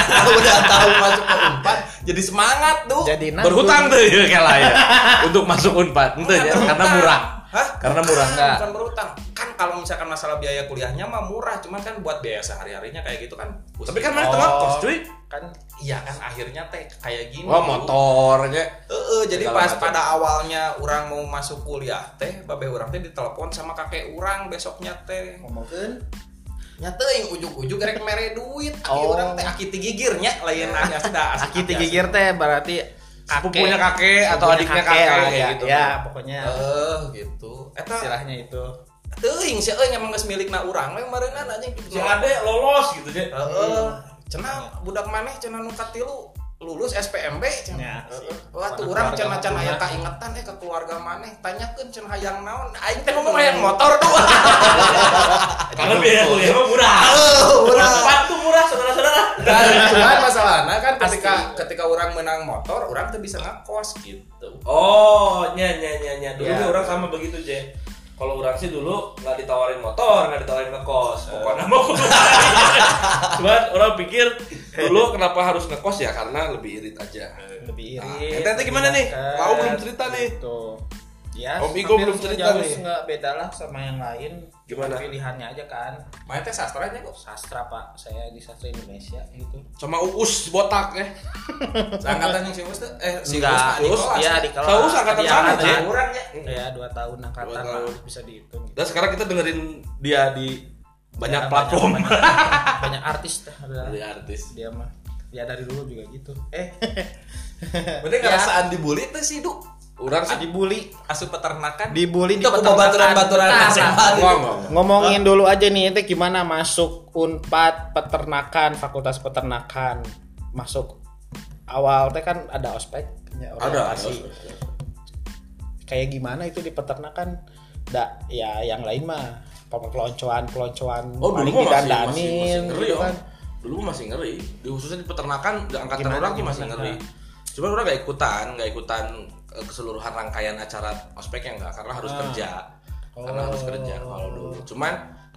S4: udah tahu masuk ke unpad jadi semangat tuh
S5: jadi nah,
S2: berhutang tuh ya kayak lah ya untuk masuk unpad ente ya karena
S4: Berhutang.
S2: murah
S4: Hah?
S2: karena murah
S4: Bukan, bukan berhutang. Kan kalau misalkan masalah biaya kuliahnya mah murah, cuman kan buat biaya sehari-harinya kayak gitu kan.
S2: tapi kan mana tengah kos cuy
S1: kan
S4: iya kan akhirnya teh kayak gini.
S2: wah ya. motornya
S4: Heeh, jadi
S2: Oh, Segala
S4: pas
S2: macam.
S4: pada awalnya orang mau masuk kuliah teh, babe orang teh ditelepon sama kakek orang besoknya teh.
S1: ngomongkeun
S4: Nyata yang ujuk-ujuk rek mere duit, aki
S5: Oh.
S4: orang teh aki ti gigirnya lain nanya sudah
S5: aki tiga gear teh berarti kakek.
S2: sepupunya kakek atau
S5: Sepupunya
S2: adiknya kakek
S5: lah,
S2: kayak
S5: ya,
S2: gitu
S5: ya pokoknya
S4: Eh gitu. Eta
S1: istilahnya itu
S4: teuing sih euy emang geus milikna urang we mareunan anjing.
S2: si ade lolos gitu je
S4: Heeh. Eh, Cenah budak maneh cenah nu katilu lulus SPMB
S1: Ya,
S4: cenah.
S1: sih.
S4: Wah tuh
S1: Mana
S4: urang
S1: keluarga
S4: cenah cenah
S1: mah
S4: aya
S1: punah.
S4: kaingetan eh ke keluarga maneh tanyakeun cenah hayang naon. Aing teh ngomong hayang motor dua.
S2: karena biaya kuliah mah murah
S4: Ah.
S2: unpad tuh murah saudara-saudara
S4: Dan Oh, Nah, cuman masalahna kan ketika ketika urang menang motor, urang teh bisa ngekos gitu.
S2: Oh, nya nya nya nya. Dulu
S1: Ya.
S2: nih orang sama begitu, Je. Kalau orang sih dulu nggak ditawarin motor, nggak ditawarin ngekos. Pokoknya mau kudu bayar. Cuman orang pikir dulu kenapa harus ngekos ya karena lebih irit aja.
S1: lebih
S2: Nah,
S1: irit.
S2: ente-ente gimana nih?
S1: dekat,
S2: Mau belum cerita nih?
S1: Gitu. Ya,
S2: Om Igo
S1: hampir
S2: belum cerita
S1: sejauh
S2: nih.
S1: Nggak beda lah sama yang lain.
S2: Gimana?
S1: Pilihannya aja kan.
S4: Main teh sastranya kok.
S1: Sastra pak, saya di sastra Indonesia gitu.
S2: Sama Uus botak ya.
S4: Angkatan yang si Uus teh eh si
S5: Enggak,
S4: Uus
S2: Uus,
S4: mah di
S5: ya
S4: kelas.
S5: di kelas
S2: Tahu angkatan
S5: Iya,
S2: sana,
S5: ada.
S2: Je.
S4: Urang nya.
S1: Ya dua tahun angkatan
S2: Dua tahun.
S1: lah, bisa dihitung. Gitu.
S2: Dan sekarang kita dengerin dia di banyak
S1: Ya,
S2: platform. Iya.
S1: banyak, banyak artis dah, ada.
S2: Dari artis.
S1: dia mah. Ya dari dulu juga gitu. Eh, Ya,
S2: Iya.
S4: Berarti ngerasaan dibully teh sih, Duk.
S2: Orang sih
S1: dibully
S4: Asup peternakan
S1: dibully di
S3: Itu aku
S1: peternakan.
S3: baturan-baturan SMA
S2: enggak,
S3: gitu.
S2: enggak.
S1: ngomongin dulu aja nih itu gimana masuk unpad peternakan fakultas peternakan masuk awal teh kan ada ospek ya,
S2: Ada, ada.
S1: orientasi. kayak gimana itu di peternakan da, ya yang lain mah peloncoan peloncoan
S2: Oh, dulu mah masih, masih, masih
S1: didandanin
S2: ngeri, oh.
S1: gitu
S2: Om.
S1: kan
S2: Dulu mah masih ngeri. Di khususnya di peternakan, di angkatan
S1: Gimana,
S2: orang sih masih
S1: gimana?
S2: ngeri. Cuman orang gak ikutan, gak ikutan eh, keseluruhan rangkaian acara ospeknya enggak karena
S4: Ah.
S2: harus kerja.
S1: Oh.
S2: Karena harus kerja kalau dulu. Cuman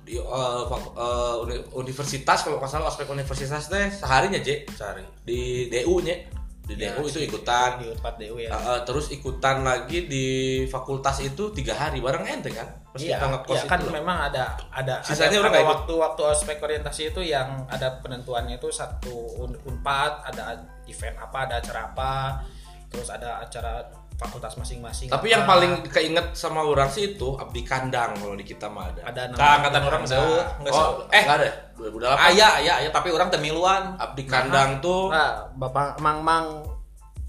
S2: di eh, fak- eh, uni- universitas kalau nggak salah ospek universitas teh seharinya J Eh,
S3: Cari.
S2: di DU nya di DU itu ikutan
S1: di unpad DU ya
S2: Eh, eh, terus ikutan lagi di fakultas itu tiga hari bareng ente kan Terus
S1: Iya,
S2: kita ngekos
S1: iya,
S2: itu
S1: kan
S2: loh.
S1: memang ada ada
S2: Sisanya gitu?
S1: ada
S2: orang nggak ikut.
S1: waktu waktu ospek orientasi itu yang ada penentuannya itu satu un- unpad ada event apa ada acara apa terus ada acara fakultas masing-masing apa.
S2: Tapi yang paling keinget sama orang sih itu abdi kandang kalau di kita mah ada.
S1: ada
S4: Nah, angkatan orang
S1: ada-
S4: jauh nggak
S2: oh, Ah, iya,
S4: seueuh. Eh,
S2: enggak ada. 2008.
S4: ayah, ayah, ayah, tapi orang temiluan.
S2: abdi kandang tuh
S4: Nah.
S1: Ah, bapak mang mang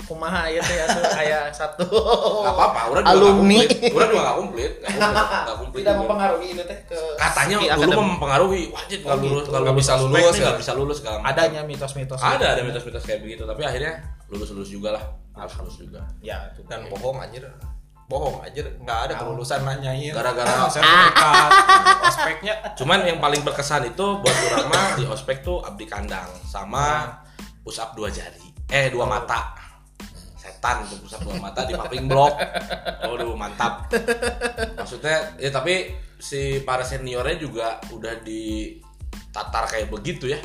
S1: kumaha ya teh atuh aya satu
S2: enggak apa-apa, orang
S1: Alumni.
S2: Orang juga enggak komplit, enggak komplit, enggak komplit.
S1: tidak
S2: juga.
S1: mempengaruhi itu teh ke
S2: Katanya
S4: Iya,
S1: segi
S2: dulu
S1: akademik.
S2: mempengaruhi, wajib
S1: Oh,
S2: enggak lulus,
S1: gitu.
S2: kalau
S4: Nggak bisa lulus,
S2: enggak
S4: ya.
S2: bisa lulus segala macam.
S1: adanya mitos-mitos
S2: Ada ada
S1: itu.
S2: mitos-mitos kayak begitu, tapi akhirnya lulus-lulus juga lah. Harus lulus juga.
S1: ya itu
S4: Dan bohong anjir. Bohong anjir, nggak ada kelulusan nanyain.
S2: Nah. Gara-gara-
S4: sertifikat ospeknya
S2: Cuman yang paling berkesan itu buat orang mah di ospek tuh abdi kandang sama pusap dua jari, eh dua mata. Setan tuh pusap dua mata di paving blok. Waduh mantap. Maksudnya ya tapi si para seniornya juga udah di tatar kayak begitu ya.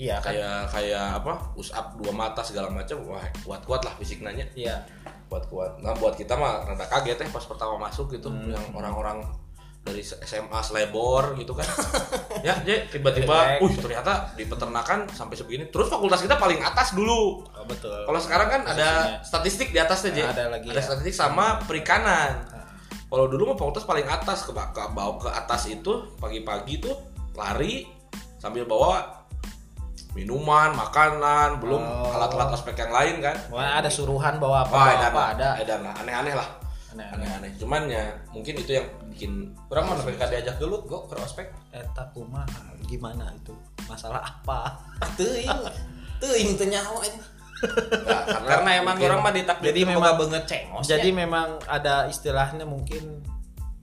S1: iya kan
S2: Kayak kayak apa? Pusap dua mata segala macam. Wah, kuat-kuat lah fisik nanya
S1: iya
S2: kuat-kuat. Nah buat kita mah rada kaget ya pas pertama masuk gitu
S4: Hmm.
S2: yang orang-orang dari SMA Slebor gitu kan. ya, jadi tiba-tiba,
S1: Jelek.
S2: uh ternyata di peternakan kan sampai sebegini. Terus fakultas kita paling atas dulu.
S1: oh, betul
S2: Kalau sekarang kan ada statistik di atasnya, J.
S1: Nah, ada lagi ya.
S2: statistik sama perikanan. Kalau dulu mah fakultas paling atas ke ke bawah ke atas itu pagi-pagi tuh lari sambil bawa minuman, makanan, belum
S1: Oh.
S2: alat-alat aspek yang lain kan.
S1: Wah, Nah, ada suruhan bawa apa
S2: Wah,
S1: bawa
S2: edan
S1: apa
S2: lah.
S1: ada
S2: Edan lah, aneh-aneh lah.
S1: Aneh-aneh.
S2: Aneh-aneh. Cuman ya mungkin itu yang bikin
S4: orang mana mereka diajak dulu kok ke ospek
S1: eta kumaha gimana itu masalah apa
S4: Ah,
S3: Teuing. Teuing teu nyaho anjing.
S2: Nah,
S4: karena emang
S2: mungkin-
S4: orang mah ditakdir
S1: Jadi
S4: boga
S1: memang-
S4: beungeut cengos
S2: ya.
S1: jadi memang ada istilahnya mungkin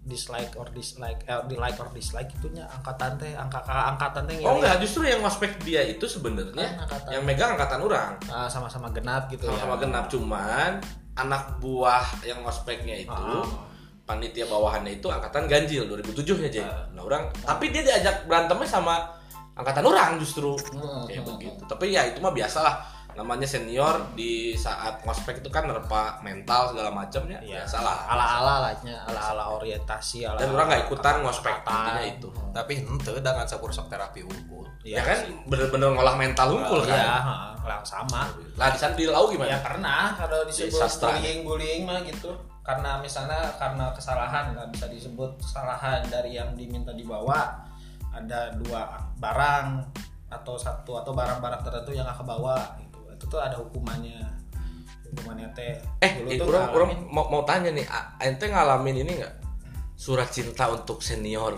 S1: dislike or dislike eh, di like or dislike itunya angkatan teh angka angkatan teh yang-
S2: Oh enggak, justru yang ospek dia itu sebenarnya
S1: Kan angkatan.
S2: yang megang angkatan orang.
S1: Ah, sama-sama genap gitu
S2: Sama-sama
S1: ya.
S2: genap cuman anak buah yang ospeknya itu
S1: Ah.
S2: panitia bawahannya itu angkatan ganjil 2007 ya, Jay.
S1: Eh.
S2: Nah, orang tapi dia diajak berantemnya sama angkatan orang justru.
S1: Hmm. ah.
S2: Kayak begitu. Tapi ya itu mah biasalah namanya senior di saat ngospek itu kan nerpa mental segala macamnya
S1: Iya.
S2: biasalah
S1: ala-ala lahnya ala-ala orientasi ala
S2: dan orang nggak ikutan ngospek intinya itu
S4: tapi henteu dengan sapur sok terapi unggul
S1: Iya.
S2: ya, kan bener-bener ngolah mental unggul
S1: ya
S2: kan
S1: ha, lah, sama
S2: lah di sana di lau
S1: ya
S2: gimana
S1: pernah kalau disebut
S2: sastra.
S1: bullying bullying mah gitu karena misalnya karena kesalahan nggak bisa disebut kesalahan dari yang diminta dibawa ada dua barang atau satu atau barang-barang tertentu yang nggak kebawa gitu itu tuh ada hukumannya hukumannya teh
S2: eh
S1: Dulu
S2: eh,
S1: tuh
S2: orang orang
S1: ngalamin-
S2: mau, mau tanya nih a- ente ngalamin ini nggak surat cinta untuk senior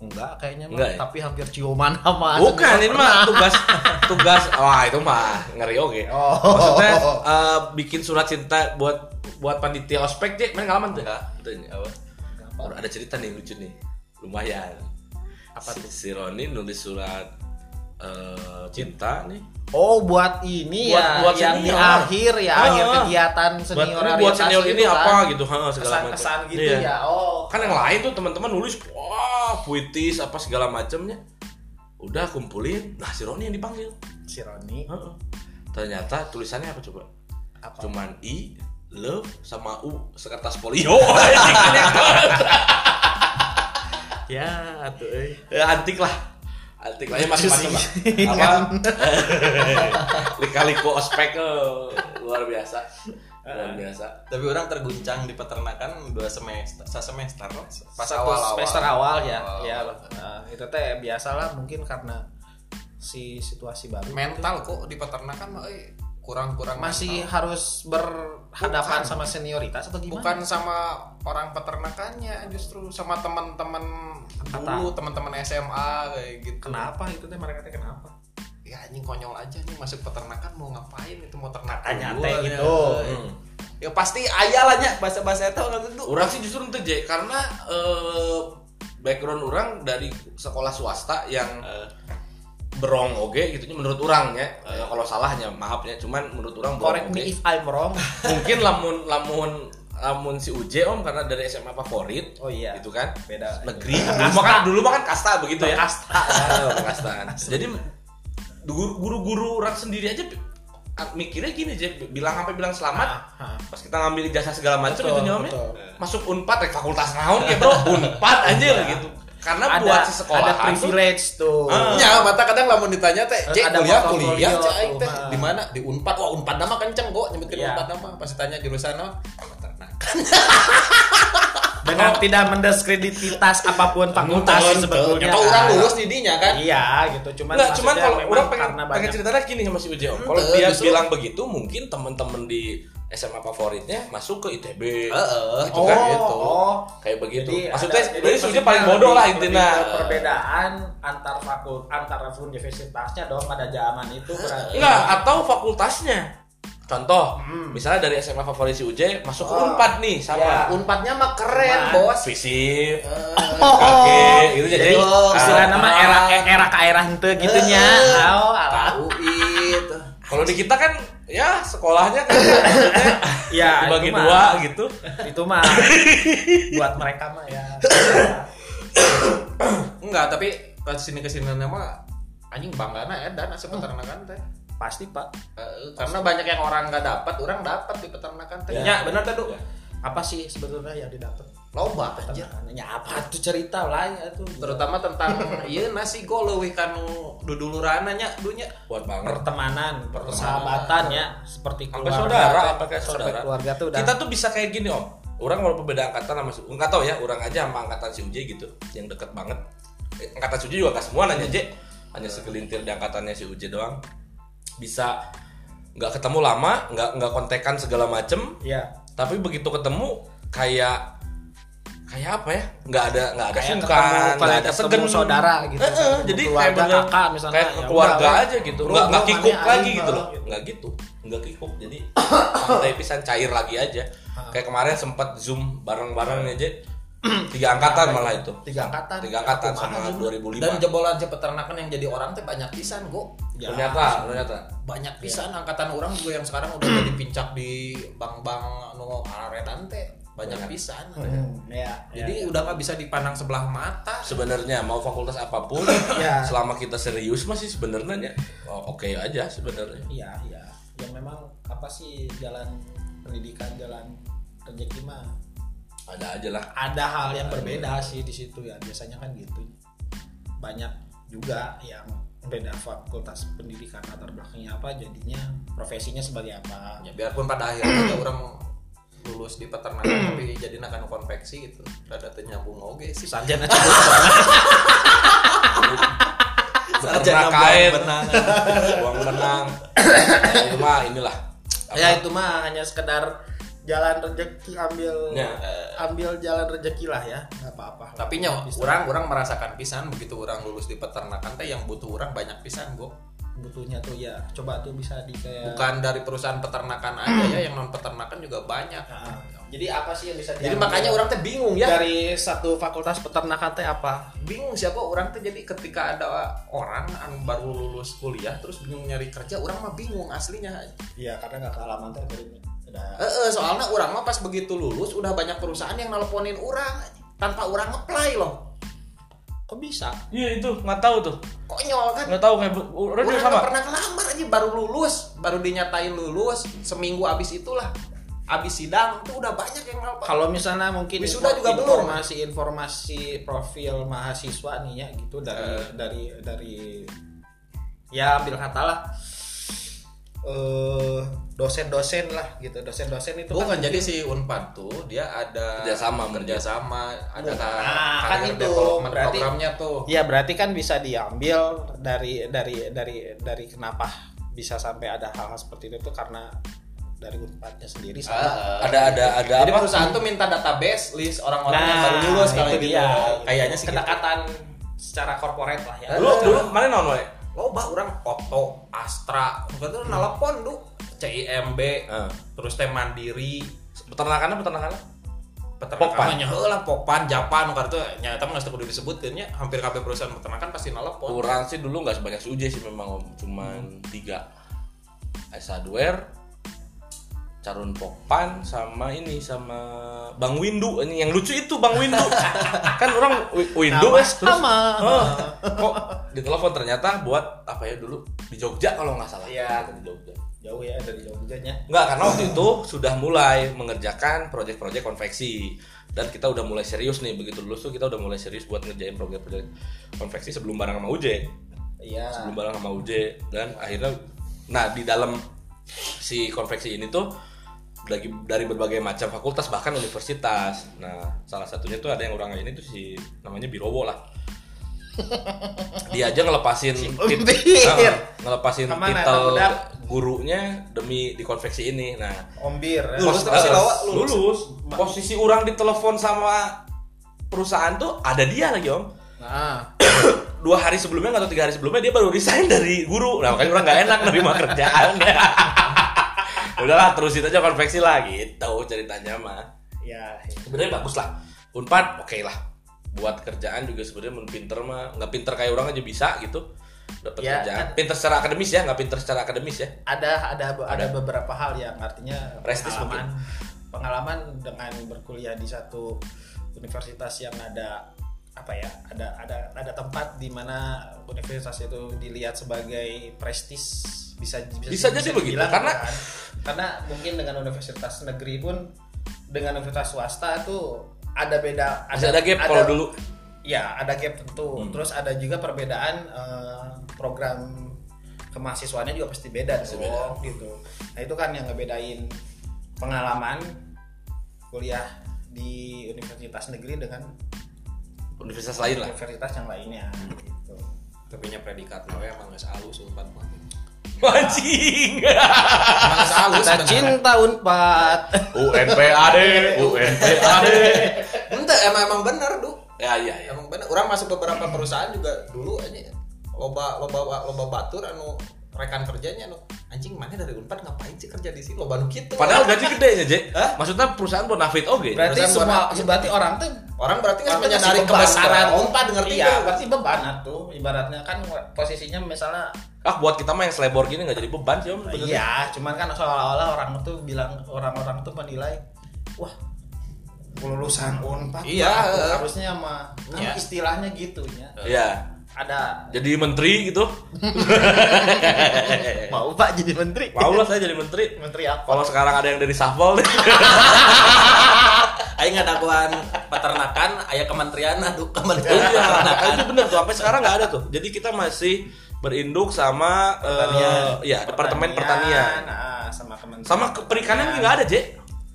S1: enggak kayaknya mah,
S2: Enggak ya?
S1: tapi hampir ciuman sama
S2: bukan ini mah tugas tugas wah itu mah ngeri oke
S1: Oh.
S2: maksudnya eh, bikin surat cinta buat buat panitia ospek deh main ngalaman tuh Tanya, apa? Baru ada cerita nih lucu nih lumayan apa si, si Roni nulis surat eh, cinta nih
S1: Oh buat ini
S2: Buat-
S1: ya
S2: buat
S1: yang di
S2: senior.
S1: akhir ya
S2: Ah,
S1: akhir
S2: ah.
S1: kegiatan
S2: buat,
S1: senior
S2: ini buat senior ini apa gitu ha, segala macam
S1: kesan-kesan gitu
S2: Iya.
S1: ya oh
S2: kan yang lain tuh teman-teman nulis wah puitis apa segala macamnya udah kumpulin nah si Roni yang dipanggil
S1: si Roni
S2: Heeh. ternyata tulisannya apa coba
S1: Apa?
S2: cuman i love sama u sekertas polio Anjing.
S1: ya atuh euy.
S2: Eh, antik lah antik lah ya macam-macam lah
S1: Sih.
S2: apa
S5: Iya.
S2: lika-liku ospek eh, luar biasa luar biasa
S4: tapi orang terguncang di peternakan dua semester sa semester pas
S1: Satu
S4: awal awal
S1: semester awal ya ya nah, itu teh biasalah mungkin karena si situasi baru
S2: eh,
S4: mental kok di peternakan mah euy, kurang kurang
S5: masih harus berhadapan sama senioritas atau gimana?
S4: bukan sama orang peternakannya justru sama teman-teman dulu teman-teman SMA kayak gitu
S1: Kenapa itu teh mereka teh kenapa?
S4: ya anjing konyol aja nih masuk peternakan mau ngapain itu mau ternakan
S1: Tanya
S4: gua,
S1: teh
S4: ya.
S1: gitu.
S2: Hmm.
S4: ya pasti ayah lah nya bahasa bahasa itu orang itu
S2: Orang sih justru ente J, karena eh, background orang dari sekolah swasta yang berong oge gitu menurut orang ya. Ya,
S4: Iya.
S2: kalau salahnya maafnya cuman menurut orang
S1: Oh,
S2: berong
S5: Correct
S2: oge.
S5: me if I'm wrong.
S2: Mungkin lamun lamun lamun si Uje Om karena dari SMA favorit.
S1: Oh iya.
S2: Gitu kan.
S1: Beda.
S2: Negeri. Dulu kan dulu mah kan kasta begitu ya. Kasta. kastaan. Jadi guru- guru-guru orang sendiri aja bi- mikirnya gini J, bilang sampai bilang selamat pas kita ngambil ijazah segala macam itu nyomnya masuk unpad rek fakultas naon ya bro unpad anjir gitu
S5: Iya. Ada
S2: karena buat si Ah.
S5: ada
S2: sekolah
S5: privilege tuh.
S4: Ya, mata kadang lamun ditanya teh,
S5: Terus
S4: "Cek
S5: ada
S4: kuliah
S5: portofolio
S4: kuliah, cek aing
S5: tuh,
S4: teh
S5: ha.
S4: di mana?" Di Unpad. Wah, Unpad nama kenceng kok nyebutin
S1: Iya.
S4: Unpad nama. Pasti tanya jurusan apa? Nah, Peternakan.
S5: Dengan tidak mendeskreditas
S2: Hmm,
S5: apapun fakultas sebetulnya.
S4: Nyata
S5: kan.
S4: orang lulus di dinya kan.
S5: Iya gitu. Cuman
S2: Enggak, cuman
S5: maksudnya
S2: kalau
S5: memang
S2: orang pengen,
S5: karena
S2: pengen
S5: banyak
S2: ceritanya gini sama si Uje Om. Kalau
S4: Ente,
S2: dia
S4: justru.
S2: bilang begitu, mungkin teman-teman di SMA favoritnya masuk ke ITB.
S4: Heeh.
S2: Gitu kan, gitu.
S1: oh.
S2: Kayak begitu.
S1: Jadi
S2: Maksudnya,
S1: ada- jadi
S2: berarti si Uje
S1: maksudnya
S2: paling bodoh
S1: lebih-
S2: lah
S1: lebih
S2: intinya.
S1: ke Perbedaan antar fakul antara universitasnya dong pada zaman itu berarti.
S2: Enggak, atau fakultasnya. Contoh, misalnya dari SMA favorit si Uje masuk ke Unpad nih
S5: Ya.
S1: iya.
S2: sama
S4: Unpadnya mah keren,
S5: Nah.
S1: Unpad.
S4: Bos.
S2: fisip,
S4: Eh,
S1: Oh,
S2: kakek, gitu jadi
S5: jadi
S1: iya.
S5: Oh,
S4: Oh,
S5: istilah nama
S4: ah.
S5: era era ke era henteu gitunya.
S4: Eh.
S5: Oh, alah.
S4: UI tuh.
S2: kalau di kita kan ya sekolahnya kan maksudnya
S5: Ya, itu
S2: dibagi
S5: mah.
S2: dua gitu.
S5: itu mah buat mereka mah ya.
S4: Enggak, tapi ke sini ke sini nama anjing banggana ya dan
S2: Oh.
S4: asa peternakan teh.
S5: Pasti, Pak.
S4: Eh, karena banyak yang orang nggak dapat, orang dapat di peternakan teh.
S1: Ya.
S4: Ya, benar teh, Du.
S5: Apa sih sebetulnya yang didapat?
S4: Loba anjir.
S1: Ya apa tuh cerita lah ya tuh.
S4: terutama tentang iya nasi go leuwih kanu duduluranna nya dunya
S2: Buat banget.
S1: pertemanan,
S5: Persahabatan ya, seperti
S2: Sampai
S5: keluarga.
S2: saudara, apa kayak
S5: Sampai
S2: saudara.
S5: keluarga tuh udah
S2: Kita tuh bisa kayak gini om. Orang walaupun beda angkatan sama si nggak tahu ya, orang aja sama angkatan si Uje gitu, yang deket banget. Eh, Angkatan si Uje juga nggak semua nanya J, hanya segelintir di angkatannya si Uje doang. Bisa nggak ketemu lama, nggak nggak kontekan segala macem.
S5: ya,
S1: Iya.
S2: Tapi begitu ketemu kayak kayak apa ya? Nggak ada nggak ada
S5: kayak ketemu,
S2: sungkan, nggak
S5: kayak
S2: ada
S5: ketemu
S2: segen.
S5: saudara gitu.
S2: Eh, eh,
S5: ketemu
S2: jadi kayak
S5: keluarga,
S2: bener-
S5: kakak misalnya.
S2: kayak
S5: ya
S2: keluarga
S5: udah,
S2: aja gitu
S5: Bro,
S2: nggak nggak
S5: bro,
S2: kikuk
S5: mana
S2: lagi
S5: aing,
S2: gitu
S5: bro.
S2: loh nggak gitu nggak kikuk jadi santai pisan cair lagi aja
S4: Ah.
S2: kayak kemarin sempat zoom bareng bareng
S4: Iya.
S2: aja tiga angkatan malah itu
S5: Tiga angkatan.
S2: tiga angkatan sama
S4: dan
S2: 2005
S4: jebolan je peternakan yang jadi orang teh banyak pisan go
S2: ternyata
S4: Ya.
S2: ternyata
S4: banyak
S2: Iya.
S4: pisan angkatan orang juga yang sekarang udah jadi pincak di bank-bank nu arenan teh
S2: Iya.
S4: banyak pisan
S1: Ya.
S4: jadi udah nggak bisa dipandang sebelah mata
S2: sebenarnya mau fakultas apapun
S1: Ya.
S2: selama kita serius masih sebenarnya ya, oh, oke aja sebenarnya
S5: ya,
S1: Iya, iya. Yang memang apa sih jalan pendidikan, jalan rezeki mah
S2: ada aja lah
S1: ada hal yang berbeda sih di situ ya. Biasanya kan gitu. Banyak juga yang beda fakultas pendidikan latar belakangnya apa jadinya profesinya sebagai apa.
S4: ya, biarpun pada akhirnya juga orang lulus di peternakan tapi jadi nakan konveksi gitu rada teh nyambung oge sih
S5: Sarjana cukup.
S2: beternak kain uang benang
S4: Nah,
S2: itu mah inilah apa,
S1: Ya itu mah hanya sekedar jalan rezeki ambil
S2: Ya.
S1: ambil jalan rezeki lah ya. nggak apa-apa.
S4: Eh, tapi nya orang orang merasakan pisan begitu orang lulus di peternakan teh yang butuh orang banyak pisan go
S1: butuhnya tuh ya coba tuh bisa di kayak
S4: bukan dari perusahaan peternakan aja ya yang non peternakan juga banyak
S1: Ah, jadi apa sih yang bisa
S4: jadi
S1: diambil?
S4: makanya orang teh bingung
S1: Iya.
S4: ya
S5: Dari satu fakultas peternakan teh apa?
S4: bingung siapa orang teh jadi ketika ada orang anu baru lulus kuliah terus bingung nyari kerja orang mah bingung aslinya
S1: Iya, karena nggak kealaman teh dari
S4: eh eh, soalnya orang mah pas begitu lulus udah banyak perusahaan yang nelponin orang tanpa orang apply loh
S5: Kok bisa?
S2: Iya itu nggak tahu tuh,
S4: konyol kan
S2: nggak tahu kayak bu- orang
S4: Orang
S2: juga
S4: nggak
S2: sama.
S4: pernah ngelamar aja baru lulus, baru dinyatain lulus, seminggu abis itulah. Abis sidang tuh udah banyak yang ngelamar.
S5: Kalau misalnya mungkin
S4: Wisuda juga belum.
S5: informasi informasi profil mahasiswa nih ya gitu dari
S4: Eh.
S1: dari dari dari ya ambil kata lah eh dosen-dosen lah gitu dosen-dosen itu
S4: Bukan jadi si Unpad tuh dia ada
S2: Kerjasama mungkin.
S4: kerjasama ada
S1: Nah, kan itu.
S4: development
S1: Berarti- Iya,
S4: programnya tuh.
S5: Ya berarti kan bisa diambil dari dari dari dari kenapa
S1: bisa sampai ada hal-hal seperti itu tuh karena dari unpadnya sendiri
S4: Ah,
S1: sama
S4: ah.
S2: Ada ada ada
S4: Jadi
S2: apa?
S4: perusahaan tuh minta database list orang-orang yang
S1: Nah,
S4: baru lulus kalau
S1: itu
S4: gitu.
S1: dia.
S4: Kayaknya sih gitu.
S1: kedekatan secara korporat lah ya
S4: Eh,
S2: Dulu dulu mana naon we?
S4: Loba orang Otto, Astra, bukan tuh nelpon du CIMB,
S2: Heeh.
S4: terus teh Mandiri,
S2: Eh, Peternakannya peternakannya. Pokpan.
S4: peternakan mah lah Pokpan, Japan, kartu nyata mah nggak kudu disebutkan ya. Hampir KP perusahaan peternakan pasti nelpon.
S2: Kurang sih dulu nggak sebanyak si UJ sih memang Om. cuman tiga. Ice Hardware, Carun Pokpan sama ini sama Bang Windu ini yang lucu itu Bang Windu kan orang Wi-
S5: Nama
S2: Windu es terus
S5: sama.
S2: Oh, kok ditelepon ternyata buat apa ya dulu di Jogja kalau nggak salah
S1: Iya.
S2: di Jogja
S1: jauh ya dari Jogjanya
S2: Enggak, karena waktu itu sudah mulai mengerjakan proyek-proyek konveksi dan kita udah mulai serius nih begitu lulus tuh kita udah mulai serius buat ngerjain proyek-proyek konveksi sebelum barang sama UJ
S1: iya
S2: sebelum barang sama UJ dan akhirnya nah di dalam si konveksi ini tuh dari, dari berbagai macam fakultas bahkan universitas nah salah satunya tuh ada yang orang ini tuh si namanya Birowo lah dia aja ngelepasin tit-
S1: Umpir.
S2: Nah, ngelepasin
S1: Kemana,
S2: titel
S1: Pak Budak?
S2: gurunya demi di konveksi ini nah
S1: ombir ya.
S2: Pos-
S4: tapi si
S2: eh,
S4: Lawa
S2: lulus. Posisi orang ditelepon sama perusahaan tuh ada dia lagi om.
S5: Nah,
S2: Dua hari sebelumnya atau tiga hari sebelumnya dia baru resign dari guru. Nah makanya orang nggak enak nerima kerjaan. Udahlah terusin aja konveksi lah gitu ceritanya mah.
S1: ya
S2: Sebenarnya bagus lah. Unpad oke lah. Buat kerjaan juga sebenarnya mun pinter mah nggak pinter kayak orang aja bisa gitu. Dapat
S1: Ya,
S2: kerjaan.
S1: kan.
S2: Pinter secara akademis ya nggak pinter secara akademis ya.
S1: ada ada ada beberapa hal yang artinya
S2: Prestis
S1: pengalaman pengalaman dengan berkuliah di satu universitas yang ada apa ya ada ada ada tempat di mana universitas itu dilihat sebagai prestis bisa
S2: Bisa jadi begitu,
S1: dibilang,
S2: karena-
S1: kan? karena mungkin dengan universitas negeri pun dengan universitas swasta tuh ada beda
S2: Masih ada gap kalau dulu.
S1: Ya, ada gap tentu. Terus ada juga perbedaan eh, program kemahasiswaannya juga pasti beda dong, gitu. Nah, itu kan yang ngebedain pengalaman kuliah di universitas negeri dengan
S2: Universitas lain lah.
S1: universitas yang lainnya gitu.
S4: Tapi nya predikat nawe emang geus alus ulpan mah.
S2: Anjing.
S4: Emang geus alus.
S5: kita cinta unpad.
S2: iya. UNPAD, UNPAD.
S4: Ente emang emang bener du.
S2: Ya iya ya.
S4: Emang bener. Orang masuk beberapa perusahaan juga dulu aja loba loba loba batur anu rekan kerjanya anu anjing mana dari Unpad ngapain sih kerja di sini loba nu kitu.
S2: Padahal gaji gede ya, Jek.
S4: Hah?
S2: Maksudnya perusahaan buat nafit oge.
S1: Berarti
S4: Jurusan
S1: semua berarti orang tuh
S4: orang berarti
S1: orang
S4: kan
S1: tuh
S4: menyadari
S1: ngasih beban,
S4: kebesaran
S1: dong.
S4: Unpad ngerti
S1: iya,
S4: nggak?
S1: pasti beban tuh ibaratnya kan posisinya misalnya
S2: Ah buat kita mah yang selebor gini nggak jadi beban sih om. sebenarnya.
S1: Iya, cuman kan seolah-olah orang tuh bilang orang-orang tuh menilai, wah eh, lulusan unpad
S4: Iya.
S1: Pak, tuh harusnya mah kan
S4: Iya.
S1: istilahnya gitu ya
S2: Iya.
S1: ada
S2: Jadi menteri gitu.
S5: Mau Pak jadi menteri?
S2: Mau lah saya jadi menteri.
S1: menteri apa
S2: Kalau sekarang ada yang dari shuffle deh.
S4: Aing ngadaguan peternakan aya kementerian aduh kementerian
S2: Iya,
S4: peternakan.
S2: itu bener tuh. Sampai sekarang nggak ada tuh. Jadi kita masih berinduk sama eh, ya departemen pertanian.
S1: nah, Iya, sama teman
S2: Sama ke- perikanan juga nggak ada, Jek.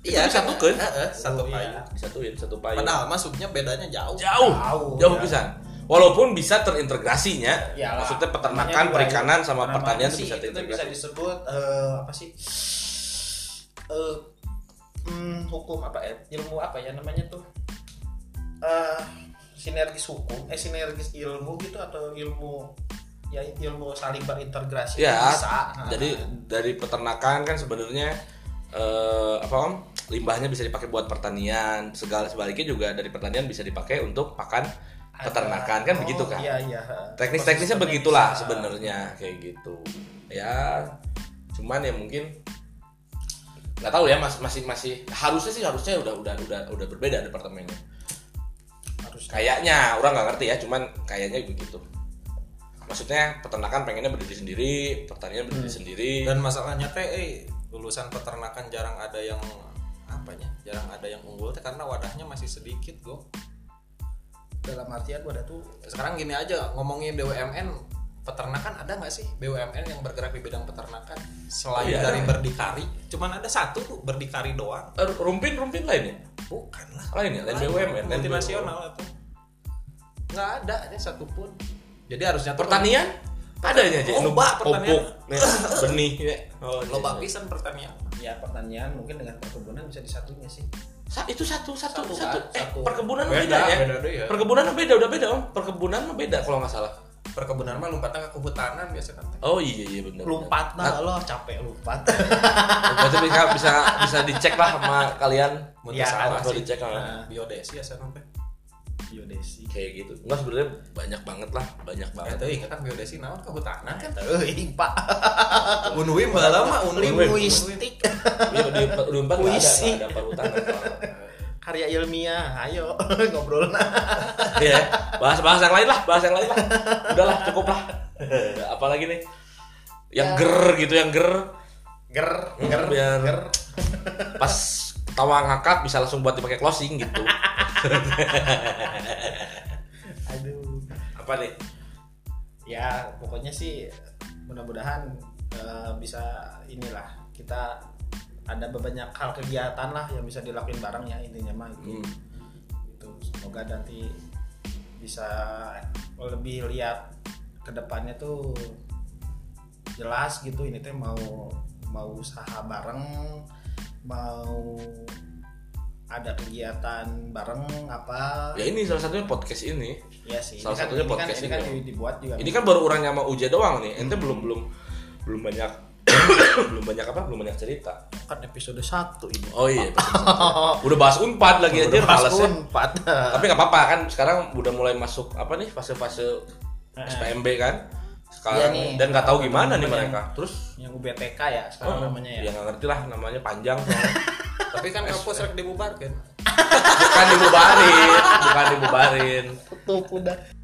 S4: Iya,
S2: Itu disatukeun.
S4: Heeh, satu Oh, payu.
S2: Disatuin satu payung.
S4: Padahal masuknya bedanya jauh.
S2: jauh
S1: Jauh,
S2: jauh
S1: ya.
S2: pisan walaupun bisa terintegrasinya
S1: Iyalah.
S2: maksudnya peternakan
S1: Ya, Namanya dua-
S2: perikanan sama
S1: namanya
S2: pertanian
S1: sih,
S2: tuh
S1: itu tuh
S2: bisa
S1: bisa
S2: terintegrasi
S1: disebut eh, apa sih Eh, hmm, hukum apa ya ilmu apa ya namanya tuh Eh, sinergis hukum eh sinergis ilmu gitu atau ilmu ya ilmu saling berintegrasi
S2: ya
S1: bisa Nah,
S2: jadi dari peternakan kan sebenarnya eh, apa om limbahnya bisa dipakai buat pertanian segala sebaliknya juga dari pertanian bisa dipakai untuk pakan
S1: ada-
S2: peternakan kan
S1: oh,
S2: begitu kan
S1: iya iya
S2: teknis-teknisnya begitulah
S1: Bisa.
S2: sebenarnya kayak gitu ya cuman ya mungkin nggak tahu ya mas- masih masih harusnya sih harusnya udah udah udah udah berbeda departemennya
S1: harus
S2: kayaknya orang nggak ngerti ya cuman kayaknya begitu maksudnya peternakan pengennya berdiri sendiri pertanian berdiri
S1: Hmm.
S2: sendiri
S4: Dan masalahnya teh eh, lulusan peternakan jarang ada yang apanya? Jarang ada yang unggul teh karena wadahnya masih sedikit, Go.
S1: dalam artian gua ada tuh
S4: Sekarang gini aja ngomongin BUMN peternakan ada nggak sih BUMN yang bergerak di bidang peternakan selain
S2: Iya.
S4: dari berdikari cuman ada satu tuh berdikari doang
S2: Eh, rumpin rumpin lain ya
S4: bukan lah
S2: lain ya lain BUMN
S4: multi
S2: lain
S4: nasional itu nggak ada ini satupun jadi harusnya tuh-
S2: pertanian Ada aja aja.
S4: Loba pertanian.
S2: pupuk, nih, benih, nih. Oh, iya,
S4: Loba
S2: iya.
S4: pisan pertanian.
S1: ya pertanian mungkin dengan perkebunan bisa disatunya sih
S2: Sa- itu satu satu
S1: Satu,
S2: satu,
S1: kan?
S2: Eh,
S1: Satu.
S2: perkebunan mah
S4: Beda,
S2: beda, ya
S4: beda deh ya.
S2: perkebunan mah beda udah beda om perkebunan mah beda kalau nggak salah
S4: Perkebunan mah lompatnya ke kehutanan kan, biasanya.
S2: oh iya iya benar
S5: Lumpat nah lo capek lumpat.
S2: berarti bisa bisa bisa dicek lah sama kalian
S4: Mun
S1: Iya,
S4: ya, salah
S2: atau
S4: sih.
S2: dicek lah
S1: Nah.
S4: Biodesi ya sampai.
S1: biodesi
S2: kayak gitu nggak sebenarnya banyak banget lah banyak
S4: Ya
S2: banget
S4: tuh ingat kan biodesi naon kehutanan kan.
S5: Tuh, ini Pak.
S4: Unwi mah lama unwi.
S2: Unwi.
S5: Linguistik
S2: Iya, di di empat nggak ada
S5: Puisi.
S2: nggak ada perhutanan
S5: karya ilmiah. Ayo ngobrol nah.
S2: ya bahas bahas yang lain lah bahas yang lain lah udahlah cukup lah apalagi nih yang ger gitu yang ger
S1: ger
S2: Hmm, biar pas tawa ngakak bisa langsung buat dipakai closing gitu.
S1: aduh
S2: Apa nih?
S1: ya pokoknya sih mudah-mudahan eh, bisa inilah kita ada banyak hal kegiatan lah yang bisa dilakuin bareng ya intinya mah itu
S2: Hmm.
S1: Gitu. semoga nanti bisa lebih lihat kedepannya tuh jelas gitu ini teh mau mau usaha bareng mau ada kegiatan bareng apa
S2: Ya ini salah satunya podcast ini.
S1: ya sih
S2: salah
S1: ini kan,
S2: satunya
S1: ini kan,
S2: podcast
S1: ini kan
S2: ini.
S1: dibuat juga
S2: Ini kan baru orangnya sama Uja doang nih. Ente belum belum belum banyak belum banyak apa? Belum banyak cerita.
S5: Kan episode 1 ini.
S2: Oh iya. udah bahas unpad lagi aja ya.
S5: Pas
S2: malesnya.
S5: unpad.
S2: Tapi nggak apa-apa kan sekarang udah mulai masuk apa nih fase-fase SPMB kan. Sekarang
S1: Iya nih.
S2: dan nggak tahu gimana nih
S1: Temen-temen
S2: mereka. Terus
S1: yang UBTK ya sekarang namanya ya.
S2: ya nggak ngerti lah namanya panjang. soalnya.
S4: Tapi kan kampus rek dibubarkeun.
S2: bukan dibubarin, bukan dibubarin.
S5: Tutup udah.